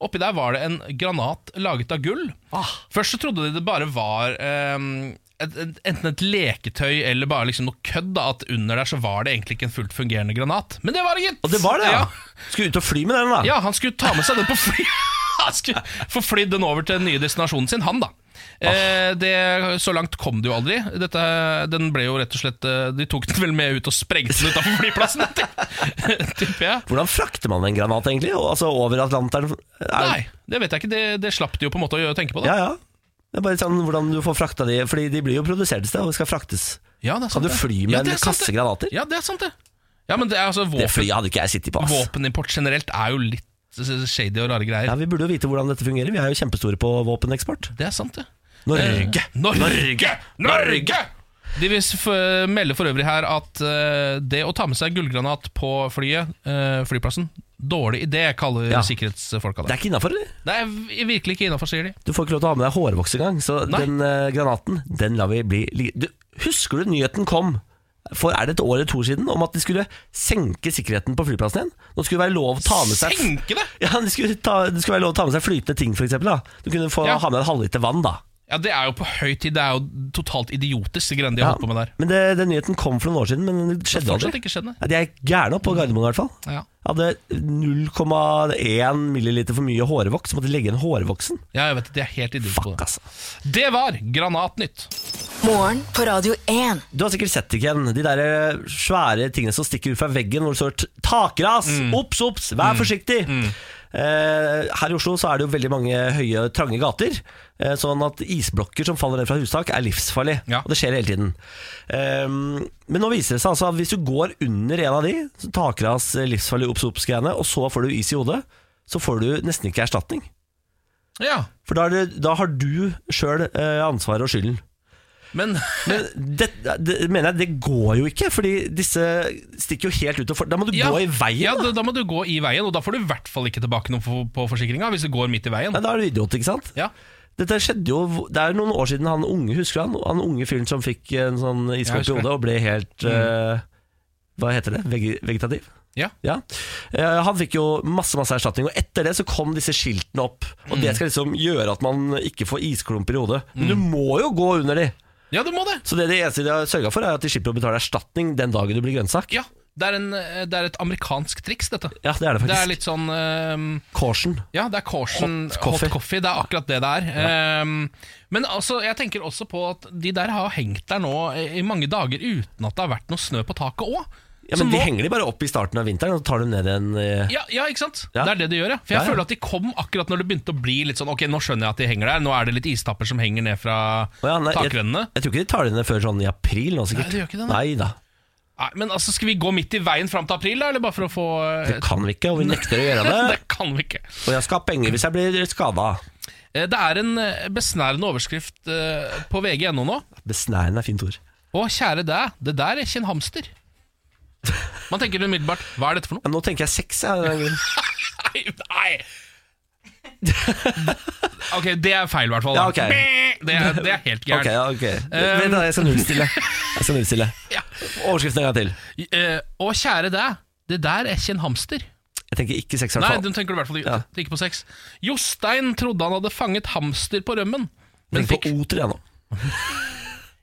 Speaker 3: Oppi der var det en granat laget av gull.
Speaker 2: Ah.
Speaker 3: Først så trodde de det bare var eh, et, et, enten et leketøy eller bare liksom noe kødd. da At under der så var det egentlig ikke en fullt fungerende granat. Men det var det, gitt!
Speaker 2: Og det var det, ja!
Speaker 3: Ja,
Speaker 2: Skulle ut og fly med den, da.
Speaker 3: ja, han skulle ta med seg den på fly Han skulle få flydd den over til den nye destinasjonen sin, han da
Speaker 2: Ah.
Speaker 3: eh, det, Så langt kom det jo aldri Dette, Den ble jo rett og slett eh, De tok den vel med ut og sprengte den utenfor flyplassen til- Tipper jeg
Speaker 2: Hvordan frakter man en granat egentlig? Og- Altså over Atlanteren? Er-
Speaker 3: Nei, det vet jeg ikke, det, det slapp de jo på en måte å gjøre- tenke på da
Speaker 2: Ja, ja. Det er bare sånn hvordan du får frakta de, fordi de blir jo produsert et sted og skal fraktes.
Speaker 3: Ja, det er
Speaker 2: Kan
Speaker 3: sant
Speaker 2: du
Speaker 3: det.
Speaker 2: fly med en
Speaker 3: det er sant
Speaker 2: kasse
Speaker 3: det.
Speaker 2: granater?
Speaker 3: Ja, det er sant det Ja, men det er altså
Speaker 2: Det
Speaker 3: våpen,
Speaker 2: flyet hadde ikke jeg sittet på, ass.
Speaker 3: våpenimport generelt er jo litt shady og rare greier
Speaker 2: Ja, vi burde jo vite hvordan dette fungerer. Vi er jo kjempestore på våpeneksport.
Speaker 3: Det er sant det
Speaker 2: Norge!
Speaker 3: Eh, Norge! Norge! De vil s- f- melde for øvrig her at eh, det å ta med seg gullgranat på flyet, eh, flyplassen, dårlig idé, kaller
Speaker 2: Ja.
Speaker 3: sikkerhetsfolka
Speaker 2: Det er
Speaker 3: det.
Speaker 2: ikke innafor, eller?
Speaker 3: Det er v- virkelig ikke innafor, sier de.
Speaker 2: Du får ikke lov til å ha med deg hårvoks engang, så
Speaker 3: Nei.
Speaker 2: den eh, granaten, den lar vi bli ligge. Du, Husker du nyheten kom for er det et år eller to år siden om at de skulle senke sikkerheten på flyplassen igjen. Nå skulle det være lov å ta med seg
Speaker 3: Senke det?
Speaker 2: Ja, det skulle, ta, det skulle være lov å ta med seg flytende ting, for eksempel, da. Du kunne få
Speaker 3: Ja.
Speaker 2: ha med en halvliter vann, da.
Speaker 3: Ja, Det er jo på høy tid. Det er jo totalt idiotisk, de greiene de har holdt på med der.
Speaker 2: Men det, Den nyheten kom for noen år siden, men det
Speaker 3: Det
Speaker 2: skjedde
Speaker 3: har
Speaker 2: aldri.
Speaker 3: fortsatt ikke Mm. skjedd, nei.
Speaker 2: Ja, de er gærne oppe på Gardermoen, i hvert fall.
Speaker 3: Ja.
Speaker 2: Hadde 0,1 milliliter for mye hårvoks, så måtte de legge igjen hårvoksen.
Speaker 3: ja, jeg vet det. De er helt idiotiske på
Speaker 2: Fuck,
Speaker 3: det.
Speaker 2: altså.
Speaker 3: Det var Granatnytt.
Speaker 4: Morgen på Radio 1.
Speaker 2: Du har sikkert sett det, Ken. De der eh, svære tingene som stikker ut fra veggen hvor det står 'takras'. Ops, ops! Vær forsiktig! Eh, her i Oslo så er det jo veldig mange høye, trange gater. eh, sånn at isblokker som faller ned fra hustak, er livsfarlig.
Speaker 3: Ja.
Speaker 2: Og det skjer hele tiden. Ehm, men nå viser det seg altså at hvis du går under en av de, så takras, eh, livsfarlig, ops, ops-greiene, og så får du is i hodet, så får du nesten ikke erstatning.
Speaker 3: Ja,
Speaker 2: For da, er det, da har du sjøl eh, ansvaret og skylden.
Speaker 3: men
Speaker 2: Men det, det mener jeg, det går jo ikke, fordi disse stikker jo helt ut. Og for, da må du
Speaker 3: ja,
Speaker 2: gå i veien.
Speaker 3: Ja,
Speaker 2: da.
Speaker 3: da, da må du gå i veien, og da får du i hvert fall ikke tilbake noe for- på forsikringa hvis du går midt i veien.
Speaker 2: Nei, da er du idiot, ikke sant?
Speaker 3: Ja,
Speaker 2: Dette skjedde jo, Det er jo noen år siden han unge husker du han, han unge fyren som fikk en sånn iskopp i
Speaker 3: husker det. Mm.
Speaker 2: hodet og ble helt eh, Hva heter det? Veg vegetativ?
Speaker 3: Ja.
Speaker 2: Eh, han fikk jo masse masse erstatning, og etter det så kom disse skiltene opp. Og
Speaker 3: Mm.
Speaker 2: Det skal liksom gjøre at man ikke får isklumper i hodet. Men du må jo gå under de!
Speaker 3: ja du må det!
Speaker 2: Så det det eneste de har sørga for, er at de slipper å betale erstatning den dagen du blir grønnsak.
Speaker 3: Ja, det er, en, eh, det er et amerikansk triks, dette.
Speaker 2: Ja, det er det
Speaker 3: Det
Speaker 2: faktisk.
Speaker 3: er litt sånn ehm,
Speaker 2: Caution.
Speaker 3: Ja, det er Caution
Speaker 2: Hot
Speaker 3: hot,
Speaker 2: coffee.
Speaker 3: coffee. Det er akkurat det det er. Ehm, men altså, jeg tenker også på at de der har hengt der nå i mange dager uten at det har vært noe snø på taket òg.
Speaker 2: Ja, men De henger de bare opp i starten av vinteren og så tar de ned igjen. eh,
Speaker 3: ja, ja, ikke sant?
Speaker 2: Ja.
Speaker 3: Det er det de gjør, ja. For jeg
Speaker 2: Ja, ja.
Speaker 3: føler at de kom akkurat når det begynte å bli litt sånn Ok, nå skjønner jeg at de henger der. Nå er det litt istapper som henger ned fra
Speaker 2: Å ja, nei, jeg,
Speaker 3: takrennene.
Speaker 2: jeg tror ikke de tar det ned før sånn i april nå, sikkert.
Speaker 3: Nei, det gjør ikke det,
Speaker 2: Nei
Speaker 3: nei.
Speaker 2: da.
Speaker 3: Nei, men altså, skal vi gå midt i veien fram til april, da? Eller bare for å få eh,
Speaker 2: Det kan vi ikke, og vi nekter å gjøre det.
Speaker 3: det kan vi ikke.
Speaker 2: Og jeg skal ha penger hvis jeg blir skada.
Speaker 3: Eh, Det er en eh, besnærende overskrift eh, på vg.no nå.
Speaker 2: Besnærende er fint ord.
Speaker 3: Å, kjære deg, det der er ikke en hamster. Man tenker umiddelbart Hva er dette for noe?
Speaker 2: Ja, nå tenker jeg sex, jeg.
Speaker 3: Nei! nei. ok, det er feil, i hvert fall. da.
Speaker 2: Ja, ok.
Speaker 3: det, er- det er helt
Speaker 2: Ok,
Speaker 3: gærent. Um,
Speaker 2: ja, ok. Vent, da, jeg skal nullstille. Jeg skal nullstille.
Speaker 3: Ja.
Speaker 2: Overskriften en gang til.
Speaker 3: Eh, Å, kjære deg, det der er ikke en hamster.
Speaker 2: Jeg tenker ikke sex, i
Speaker 3: Nei,
Speaker 2: hvert
Speaker 3: den
Speaker 2: fall.
Speaker 3: tenker du i hvert fall ikke,
Speaker 2: Ja.
Speaker 3: ikke på sex. Jostein trodde han hadde fanget hamster på rømmen, men
Speaker 2: Tenk
Speaker 3: fikk
Speaker 2: på oter, jeg nå.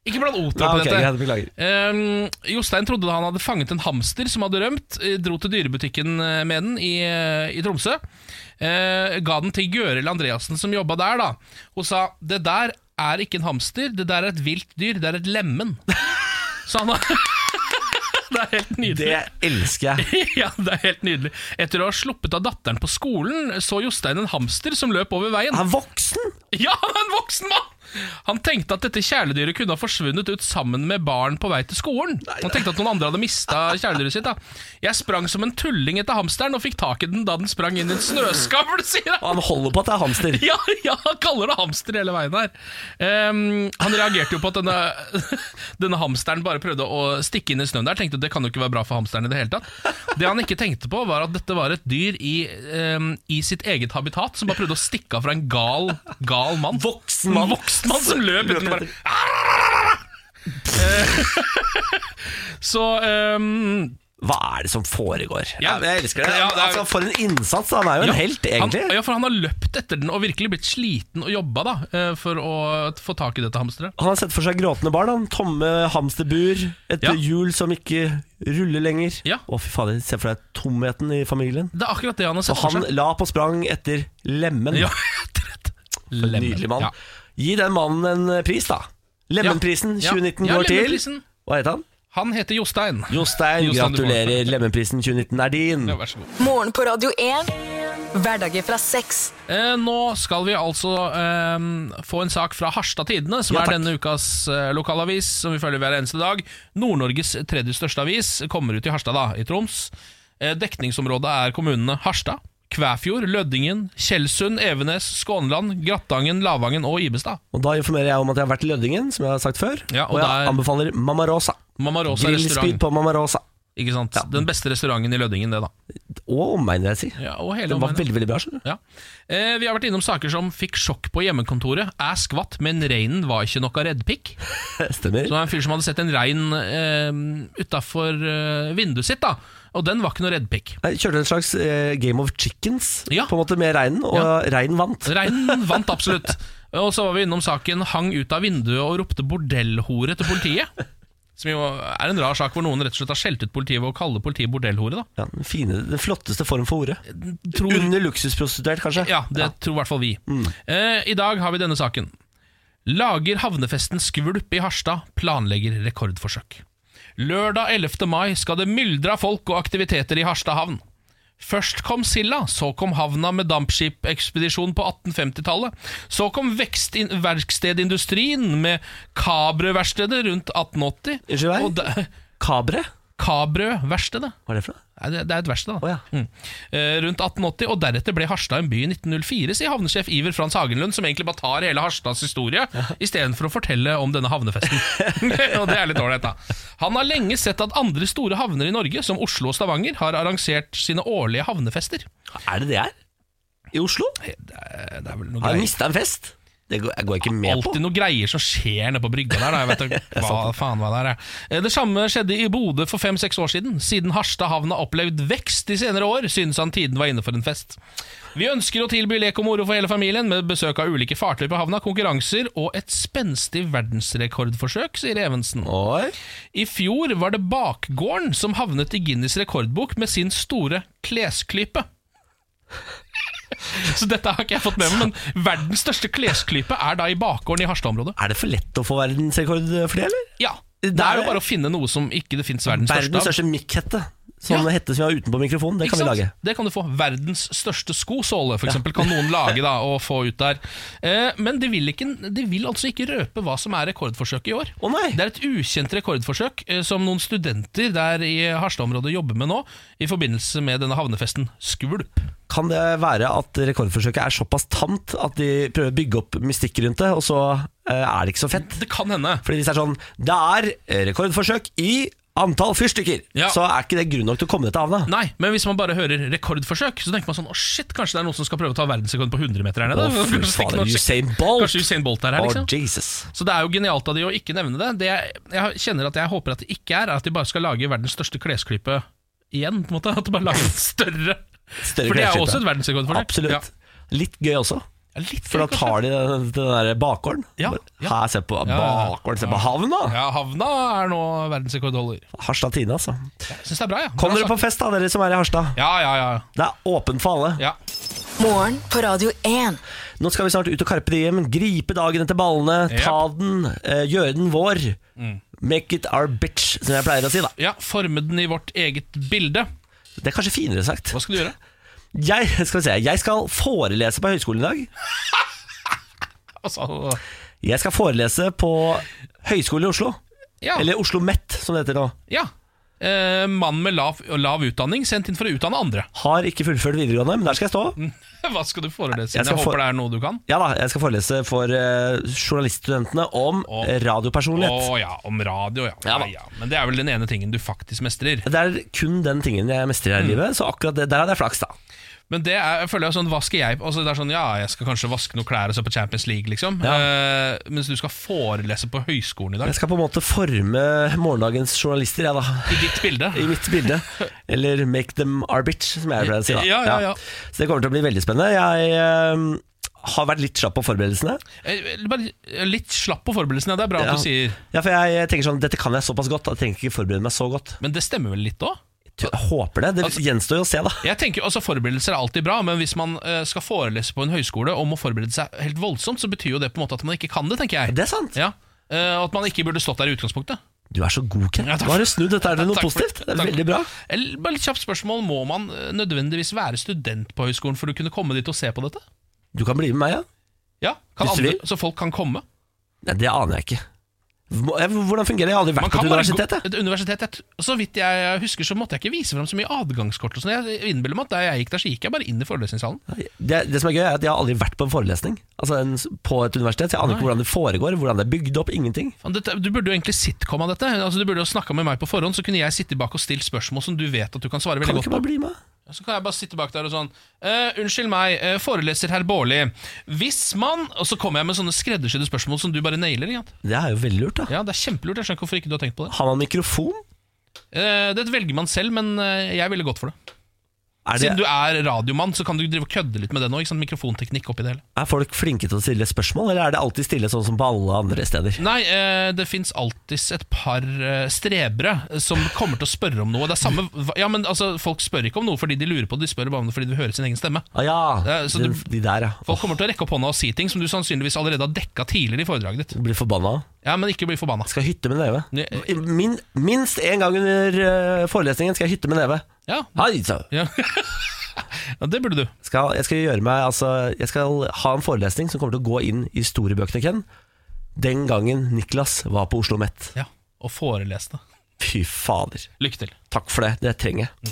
Speaker 3: Ikke blant oter
Speaker 2: Nei,
Speaker 3: på
Speaker 2: ok,
Speaker 3: dette.
Speaker 2: greit, beklager.
Speaker 3: Ehm, Jostein trodde han hadde fanget en hamster som hadde rømt, eh, dro til dyrebutikken eh, med den i, eh, i Tromsø. Eh, ga den til Gøril Andreassen som jobba der. da Hun sa det der er ikke en hamster, det der er et vilt dyr, det er et lemen. Så han har Det er helt nydelig.
Speaker 2: Det elsker jeg.
Speaker 3: Ja, det er helt nydelig. Etter å ha sluppet av datteren på skolen, så Jostein en hamster som løp over veien.
Speaker 2: Er han voksen?
Speaker 3: Ja, han er en voksen mann! Han tenkte at dette kjæledyret kunne ha forsvunnet ut sammen med barn på vei til skolen. Han tenkte at noen andre hadde mista kjæledyret sitt. da Jeg sprang som en tulling etter hamsteren og fikk tak i den da den sprang inn i en snøskavl, sier
Speaker 2: Og
Speaker 3: han.
Speaker 2: han holder på at det er hamster.
Speaker 3: Ja, ja, han kaller det hamster hele veien her. Ehm, han reagerte jo på at denne, denne hamsteren bare prøvde å stikke inn i snøen der. Tenkte at det kan jo ikke være bra for hamsteren i det hele tatt. Det han ikke tenkte på, var at dette var et dyr i, ehm, i sitt eget habitat, som bare prøvde å stikke av fra en gal, gal mann.
Speaker 2: Voksen
Speaker 3: En voksen mann som løp uten bare Eh, Så ehm,
Speaker 2: Hva er det som foregår? Ja,
Speaker 3: Ja.
Speaker 2: jeg elsker det.
Speaker 3: Ja, det er-
Speaker 2: altså, for en innsats! Han er jo en helt, egentlig.
Speaker 3: Han, ja, for han har løpt etter den og virkelig blitt sliten og jobba da eh, for å få tak i dette hamsteret.
Speaker 2: Han har sett for seg gråtende barn. Han. Tomme hamsterbur, et
Speaker 3: Ja.
Speaker 2: hjul som ikke ruller lenger.
Speaker 3: Ja.
Speaker 2: Å, fy fader, se for deg tomheten i familien.
Speaker 3: Det er akkurat det han har
Speaker 2: Og
Speaker 3: sett for
Speaker 2: han
Speaker 3: seg.
Speaker 2: la på sprang etter lemmen.
Speaker 3: Ja, rett.
Speaker 2: Nydelig mann.
Speaker 3: Ja.
Speaker 2: Gi den mannen en eh, pris, da. Lemenprisen
Speaker 3: Ja.
Speaker 2: 2019
Speaker 3: Ja,
Speaker 2: går til
Speaker 3: Lemenprisen.
Speaker 2: Hva heter han?
Speaker 3: Han heter Jostein.
Speaker 2: Jostein.
Speaker 3: Jostein, du får den.
Speaker 2: Gratulerer. Lemenprisen 2019 er din.
Speaker 3: Ja, vær så god.
Speaker 4: Morgen på Radio 1. Hverdager fra seks.
Speaker 3: Eh, nå skal vi altså eh, få en sak fra Harstad Tidende, som
Speaker 2: Ja,
Speaker 3: er
Speaker 2: takk.
Speaker 3: denne ukas eh, lokalavis, som vi følger hver eneste dag. Nord-Norges tredje største avis kommer ut i Harstad, da, i Troms. Eh, dekningsområdet er kommunene Harstad, Kvæfjord, Lødingen, Tjeldsund, Evenes, Skånland, Grattangen, Lavangen og Ibestad.
Speaker 2: Og Da informerer jeg om at jeg har vært i Lødingen, som jeg har sagt før.
Speaker 3: Ja,
Speaker 2: og,
Speaker 3: og
Speaker 2: jeg
Speaker 3: der-
Speaker 2: anbefaler Mamma Rosa.
Speaker 3: Mamma Rosa
Speaker 2: Grillspyd
Speaker 3: restaurant.
Speaker 2: på Mamma Rosa.
Speaker 3: Ikke sant? Den beste restauranten i Lødingen, det, da.
Speaker 2: Og omegn, vil jeg si.
Speaker 3: Ja, og hele
Speaker 2: Den var
Speaker 3: omegnen.
Speaker 2: veldig veldig bra. skjønner du
Speaker 3: Ja. Eh, vi har vært innom saker som fikk sjokk på hjemmekontoret. Jeg skvatt, men reinen var ikke noe reddpikk. Så
Speaker 2: Stemmer.
Speaker 3: det var en fyr som hadde sett en rein eh, utafor eh, vinduet sitt, da. Og den var ikke noe reddpikk.
Speaker 2: Jeg kjørte en slags eh, Game of Chickens
Speaker 3: Ja.
Speaker 2: på en måte med reinen, og
Speaker 3: Ja.
Speaker 2: reinen vant.
Speaker 3: Reinen vant absolutt. Og så var vi innom saken 'hang ut av vinduet og ropte bordellhore' til politiet. Som jo er en rar sak hvor noen rett og slett har skjelt ut politiet ved å kalle politiet bordellhore. da
Speaker 2: Ja, den, fine, den flotteste form for ordet.
Speaker 3: Tror-
Speaker 2: Under luksusprostituert, kanskje.
Speaker 3: Ja, det tror i hvert fall vi. Eh, I dag har vi denne saken. Lager havnefesten skvulp i Harstad, planlegger rekordforsøk. Lørdag 11. mai skal det myldre av folk og aktiviteter i Harstad havn. Først kom Silla, så kom havna med dampskipekspedisjon på 1850-tallet. Så kom vekstin- verkstedindustrien med Kabrø-verkstedet rundt 1880.
Speaker 2: Unnskyld meg?
Speaker 3: Og da-
Speaker 2: Kabre?
Speaker 3: Kabrø-verkstedet?
Speaker 2: Hva er det for noe?
Speaker 3: Nei, Det det er et verksted, da.
Speaker 2: Å ja.
Speaker 3: Mm. Eh, Rundt 1880, og deretter ble Harstad en by i 1904, sier havnesjef Iver Frans Hagenlund, som egentlig bare tar hele Harstads historie, istedenfor å fortelle om denne havnefesten. og det er litt ålreit, da. Han har lenge sett at andre store havner i Norge, som Oslo og Stavanger, har arrangert sine årlige havnefester.
Speaker 2: Er det det her? I Oslo?
Speaker 3: Eh, Det er, det er vel noe
Speaker 2: Har jeg
Speaker 3: greier.
Speaker 2: mista en fest? Det går jeg går ikke med på.
Speaker 3: Alltid noe greier som skjer nede på brygga der. Da. Jeg vet ikke hva faen hva det er. jeg. Eh, Det samme skjedde i Bodø for fem-seks år siden. Siden Harstad havn har opplevd vekst de senere år, synes han tiden var inne for en fest. Vi ønsker å tilby lek og moro for hele familien, med besøk av ulike fartøy på havna, konkurranser og et spenstig verdensrekordforsøk, sier Evensen.
Speaker 2: Oi.
Speaker 3: I fjor var det Bakgården som havnet i Guinness rekordbok med sin store klesklype. Så dette har ikke jeg fått med meg, men verdens største klesklype er da i bakgården i Harstad-området.
Speaker 2: Er det for lett å få verdensrekord for det, eller?
Speaker 3: Ja,
Speaker 2: Det
Speaker 3: det
Speaker 2: er
Speaker 3: er jo
Speaker 2: det.
Speaker 3: bare å finne noe som ikke det finnes verdens største
Speaker 2: Verdens
Speaker 3: av.
Speaker 2: største mikkhette. Sånn
Speaker 3: Ja.
Speaker 2: hette som vi har utenpå mikrofonen. Det
Speaker 3: Ikke
Speaker 2: kan vi
Speaker 3: sant?
Speaker 2: lage.
Speaker 3: Det kan du få. Verdens største skosåle, for eksempel, kan noen lage da, og få ut der. Eh, men de vil, ikke, de vil altså ikke røpe hva som er rekordforsøket i år.
Speaker 2: Å nei!
Speaker 3: Det er et ukjent rekordforsøk eh, som noen studenter der i Harstad-området jobber med nå, i forbindelse med denne havnefesten Skvulp.
Speaker 2: Kan det være at rekordforsøket er såpass tamt at de prøver å bygge opp mystikk rundt det, og så eh, er det ikke så fett?
Speaker 3: Det kan hende.
Speaker 2: Fordi hvis det er sånn Det er rekordforsøk i antall fyrstikker,
Speaker 3: Ja.
Speaker 2: så er ikke det grunn nok til å komme ned til havna.
Speaker 3: Nei, men hvis man bare hører rekordforsøk, så tenker man sånn Å, shit, kanskje det er noen som skal prøve å ta verdensrekord på 100 meter her nede?
Speaker 2: Å, fy
Speaker 3: Kanskje det er
Speaker 2: fader,
Speaker 3: noen som-
Speaker 2: Usain Bolt!
Speaker 3: Kanskje Usain Bolt er her,
Speaker 2: Å,
Speaker 3: liksom.
Speaker 2: Jesus.
Speaker 3: Så det er jo genialt av de å ikke nevne det. Det jeg, jeg kjenner at jeg håper at det ikke er, er at de bare skal lage verdens største klesklype igjen. på en måte At de bare lager en større.
Speaker 2: Større
Speaker 3: For det er
Speaker 2: klesklype.
Speaker 3: jo også et verdensrekordforsøk.
Speaker 2: Absolutt. Litt gøy også,
Speaker 3: Ja, litt
Speaker 2: for da tar de den, den der bakgården.
Speaker 3: Ja, ja.
Speaker 2: Her, se på
Speaker 3: ja, ja.
Speaker 2: bakgården, se på havna!
Speaker 3: Ja, havna er nå verdensrekordholder.
Speaker 2: Harstad Tine, altså.
Speaker 3: Jeg syns det er bra, ja.
Speaker 2: Kom
Speaker 3: Bra
Speaker 2: dere på
Speaker 3: sagt.
Speaker 2: fest, da, dere som er i Harstad.
Speaker 3: Ja, ja, ja.
Speaker 2: Det er åpent for alle.
Speaker 3: ja.
Speaker 4: Morgen på Radio 1.
Speaker 2: Nå skal vi snart ut og karpe det hjem. Gripe dagen etter ballene,
Speaker 3: Ja.
Speaker 2: ta den, eh, gjøre den vår.
Speaker 3: Mm.
Speaker 2: Make it our bitch, som jeg pleier å si. da
Speaker 3: ja Forme den i vårt eget bilde.
Speaker 2: Det er kanskje finere sagt.
Speaker 3: Hva skal du gjøre?
Speaker 2: Jeg skal, vi se, jeg skal forelese på høyskolen i dag.
Speaker 3: Altså,
Speaker 2: Jeg skal forelese på Høgskolen i Oslo.
Speaker 3: ja.
Speaker 2: Eller Oslo Met, som det heter nå.
Speaker 3: ja. Eh, mann med lav, lav utdanning sendt inn for å utdanne andre.
Speaker 2: Har ikke fullført videregående, men der skal jeg stå.
Speaker 3: Hva skal du forelese?
Speaker 2: Jeg
Speaker 3: Jeg,
Speaker 2: skal
Speaker 3: jeg
Speaker 2: for-
Speaker 3: håper det er noe du kan.
Speaker 2: Ja da, jeg skal forelese for eh, journaliststudentene om
Speaker 3: Om-
Speaker 2: eh,
Speaker 3: Å
Speaker 2: radiopersonlighet.
Speaker 3: ja, om radio, ja.
Speaker 2: Ja
Speaker 3: Ja,
Speaker 2: da.
Speaker 3: ja. Men det er vel den ene tingen du faktisk mestrer.
Speaker 2: Det er kun den tingen jeg mestrer
Speaker 3: Mm.
Speaker 2: her i livet, så akkurat det, der hadde jeg flaks, da.
Speaker 3: Men det er, jeg føler jeg sånn, hva skal jeg altså, Det er sånn, ja, jeg skal kanskje vaske noen klær og se på Champions League, liksom. Eh, mens du skal forelese på høyskolen i dag.
Speaker 2: Jeg skal på en måte forme morgendagens journalister, jeg, da.
Speaker 3: I ditt bilde.
Speaker 2: I mitt bilde. Eller 'make them our bitch', som jeg pleier å si. da
Speaker 3: Ja, ja, ja.
Speaker 2: Så det kommer til å bli veldig spennende. Jeg eh, har vært litt slapp på forberedelsene.
Speaker 3: Eh, Bare litt slapp på forberedelsene, det er bra
Speaker 2: Ja.
Speaker 3: at du sier
Speaker 2: Ja, for jeg tenker sånn, Dette kan jeg såpass godt, at jeg trenger ikke forberede meg så godt.
Speaker 3: Men det stemmer vel litt òg?
Speaker 2: Jeg håper det. Det
Speaker 3: Altså-
Speaker 2: gjenstår jo å se, da.
Speaker 3: Jeg tenker, jo, altså Forberedelser er alltid bra, men hvis man eh, skal forelese på en høyskole og må forberede seg helt voldsomt, så betyr jo det på en måte at man ikke kan det, tenker jeg.
Speaker 2: Det er sant.
Speaker 3: Ja. Eh, og at man ikke burde stått der i utgangspunktet.
Speaker 2: Du er så god, Ken.
Speaker 3: Ja, takk.
Speaker 2: Nå har du snudd dette her til noe
Speaker 3: Takk for-
Speaker 2: positivt. Det er
Speaker 3: takk.
Speaker 2: veldig bra.
Speaker 3: Eller, bare litt kjapt spørsmål Må man eh, nødvendigvis være student på høyskolen for å kunne komme dit og se på dette?
Speaker 2: Du kan bli med meg, ja.
Speaker 3: Ja, kan
Speaker 2: Hvis du vil.
Speaker 3: andre, Så folk kan komme?
Speaker 2: Nei, det aner jeg ikke. Hvordan fungerer det? Jeg har aldri vært på
Speaker 3: kan
Speaker 2: et
Speaker 3: bare
Speaker 2: universitet.
Speaker 3: gå-
Speaker 2: Jeg.
Speaker 3: Et universitet jeg t- Så vidt jeg husker, så måtte jeg ikke vise fram så mye adgangskort. Og sånn. jeg innbiller meg at da jeg gikk der, så gikk jeg bare inn i forelesningssalen.
Speaker 2: Det, det som er gøy, er at jeg har aldri vært på en forelesning Altså en, s- på et universitet. så Jeg aner ikke hvordan det foregår, hvordan det er bygd opp, ingenting.
Speaker 3: Faen, dette, du burde jo egentlig sitcom av dette. Altså, du burde jo snakka med meg på forhånd, så kunne jeg sitte bak og stilt spørsmål som du vet at du kan svare
Speaker 2: Kan du
Speaker 3: veldig godt
Speaker 2: ikke bare
Speaker 3: på.
Speaker 2: bli med?
Speaker 3: Så kan jeg bare sitte bak der og sånn «Eh, Unnskyld meg, eh, foreleser herr Baarli. Hvis man Og så kommer jeg med sånne skreddersydde spørsmål som du bare nailer. Ikke? sant?
Speaker 2: Det er jo veldig lurt, da.
Speaker 3: Ja, Det er kjempelurt. Jeg skjønner ikke hvorfor ikke du har tenkt på det.
Speaker 2: Har man mikrofon?
Speaker 3: Eh, det velger man selv, men eh, jeg ville gått for det.
Speaker 2: Er,
Speaker 3: Siden du
Speaker 2: det,
Speaker 3: er radiomann, så kan du drive og kødde litt med det nå. Ikke sant? Mikrofonteknikk oppi det hele.
Speaker 2: er folk flinke til å stille spørsmål, eller er det alltid stille sånn som på alle andre steder?
Speaker 3: Nei, eh, det fins alltids et par eh, strebere som kommer til å spørre om noe. Det er samme, ja, men altså, Folk spør ikke om noe fordi de lurer på det, de spør bare om det fordi de vil høre sin egen stemme.
Speaker 2: Ah, ja,
Speaker 3: Ja, så
Speaker 2: de,
Speaker 3: du-
Speaker 2: de der, ja.
Speaker 3: Folk kommer til å rekke opp hånda og si ting som du sannsynligvis allerede har dekka tidligere i foredraget ditt.
Speaker 2: Blir forbanna.
Speaker 3: Ja, men ikke bli forbanna.
Speaker 2: Skal hytte med neve.
Speaker 3: Ja, eh.
Speaker 2: Min, minst én gang under eh, forelesningen skal jeg hytte med neve.
Speaker 3: Ja,
Speaker 2: Hei, så.
Speaker 3: ja. ja det burde du.
Speaker 2: skal, jeg skal gjøre meg Altså, jeg skal ha en forelesning som kommer til å gå inn i historiebøkene, Ken. Den gangen Niklas var på Oslo Met.
Speaker 3: Ja, Og forelese det.
Speaker 2: Fy fader.
Speaker 3: Lykke til.
Speaker 2: Takk for det. Det trenger jeg.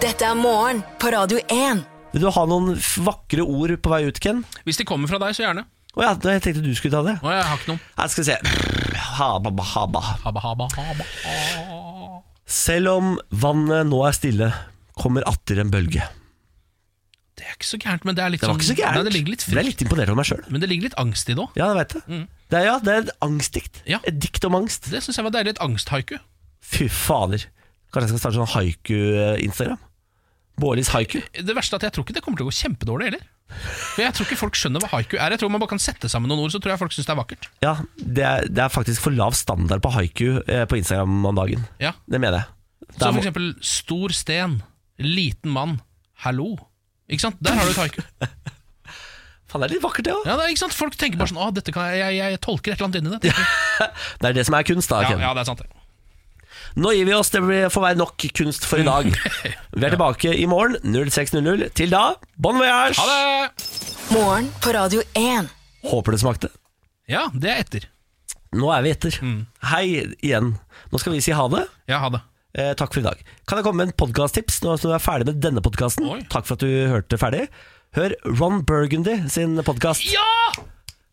Speaker 4: Dette er morgen på Radio 1.
Speaker 2: Vil du ha noen f- vakre ord på vei ut, Ken?
Speaker 3: Hvis de kommer fra deg, så gjerne.
Speaker 2: Å ja, da- jeg tenkte du skulle ta det.
Speaker 3: Å, jeg har ikke noen.
Speaker 2: Jeg skal vi se. Haba, ba, haba.
Speaker 3: Haba, haba, haba.
Speaker 2: Selv om vannet nå er stille, kommer atter en bølge.
Speaker 3: Det er ikke så gærent, men det er litt
Speaker 2: Det var
Speaker 3: sånn-
Speaker 2: ikke så gærent.
Speaker 3: Nei, det ligger litt
Speaker 2: Ble
Speaker 3: frykt.
Speaker 2: litt imponert over meg sjøl.
Speaker 3: Men det ligger litt angst i det òg.
Speaker 2: Ja, jeg veit det. Det er, ja, det er et angstdikt.
Speaker 3: Ja.
Speaker 2: Et dikt om angst.
Speaker 3: Det syns jeg var deilig. Et angsthaiku.
Speaker 2: Fy fader. Kanskje jeg skal starte sånn haiku-instagram? Bårlis haiku.
Speaker 3: Det verste er at jeg tror ikke det kommer til å gå kjempedårlig heller. For Jeg tror ikke folk skjønner hva haiku er. Jeg tror man bare kan sette sammen noen ord, så tror jeg folk syns det er vakkert.
Speaker 2: Ja, det er, det er faktisk for lav standard på haiku eh, på Instagram om dagen.
Speaker 3: Ja.
Speaker 2: Det mener jeg. Det
Speaker 3: Så
Speaker 2: er,
Speaker 3: for eksempel stor sten, liten mann, hallo. Ikke sant? Der har du et haiku.
Speaker 2: faen, det er litt vakkert, det òg.
Speaker 3: Ja, det er, ikke sant? Folk tenker bare sånn Å, dette kan jeg, jeg, jeg tolker et eller annet inni det. Ja,
Speaker 2: Det er det som er kunst, da.
Speaker 3: ja,
Speaker 2: Ken.
Speaker 3: det er sant. det.
Speaker 2: Nå gir vi oss. Det blir- får være nok kunst for i dag. Vi er tilbake i morgen 06.00. Til da, bon voyage!
Speaker 3: Ha det!
Speaker 4: Morgen på Radio 1.
Speaker 2: Håper det smakte.
Speaker 3: Ja, det er etter.
Speaker 2: Nå er vi etter.
Speaker 3: Mm.
Speaker 2: Hei igjen. Nå skal vi si ha det.
Speaker 3: Ja, ha det.
Speaker 2: Eh, takk for i dag. Kan jeg komme med en podkasttips nå som du er ferdig med denne podkasten?
Speaker 3: Oi.
Speaker 2: Takk for at du hørte ferdig. Hør Ron Burgundy sin podkast.
Speaker 3: Ja!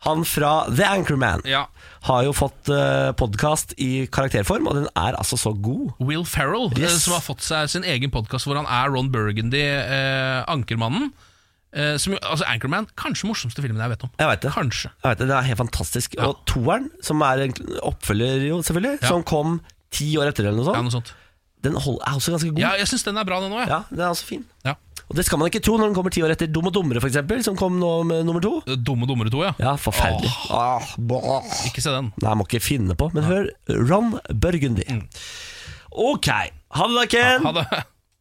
Speaker 2: Han fra The Anchorman
Speaker 3: ja!
Speaker 2: har jo fått eh, podkast i karakterform, og den er altså så god.
Speaker 3: Will Ferrell, eh,
Speaker 2: Yes.
Speaker 3: som har fått seg sin egen podkast hvor han er Ron Burgundy, eh, ankermannen. Eh, som, jo- altså Anchorman, kanskje mordsomste filmen jeg vet om.
Speaker 2: Jeg veit det.
Speaker 3: Kanskje.
Speaker 2: Jeg vet det, det er helt fantastisk. Og toeren, som er en oppfølger jo selvfølgelig,
Speaker 3: Ja.
Speaker 2: som kom ti år etter eller noe
Speaker 3: Ja,
Speaker 2: sånt,
Speaker 3: noe sånt.
Speaker 2: den hold, er også ganske god.
Speaker 3: Ja, jeg syns den er bra, den òg. Ja.
Speaker 2: Ja, den er også fin.
Speaker 3: Ja.
Speaker 2: Og det skal man ikke tro når den kommer ti år etter Dum og dummere, for eksempel, som kom nå med nummer to.
Speaker 3: Dumme dummere to, ja.
Speaker 2: Ja, forferdelig. Ah, bah.
Speaker 3: Ikke se den.
Speaker 2: Nei, jeg må ikke finne på. Men hør Ron Burgundy. Ok. Ha det da, Ken.
Speaker 3: Mm. Ha det.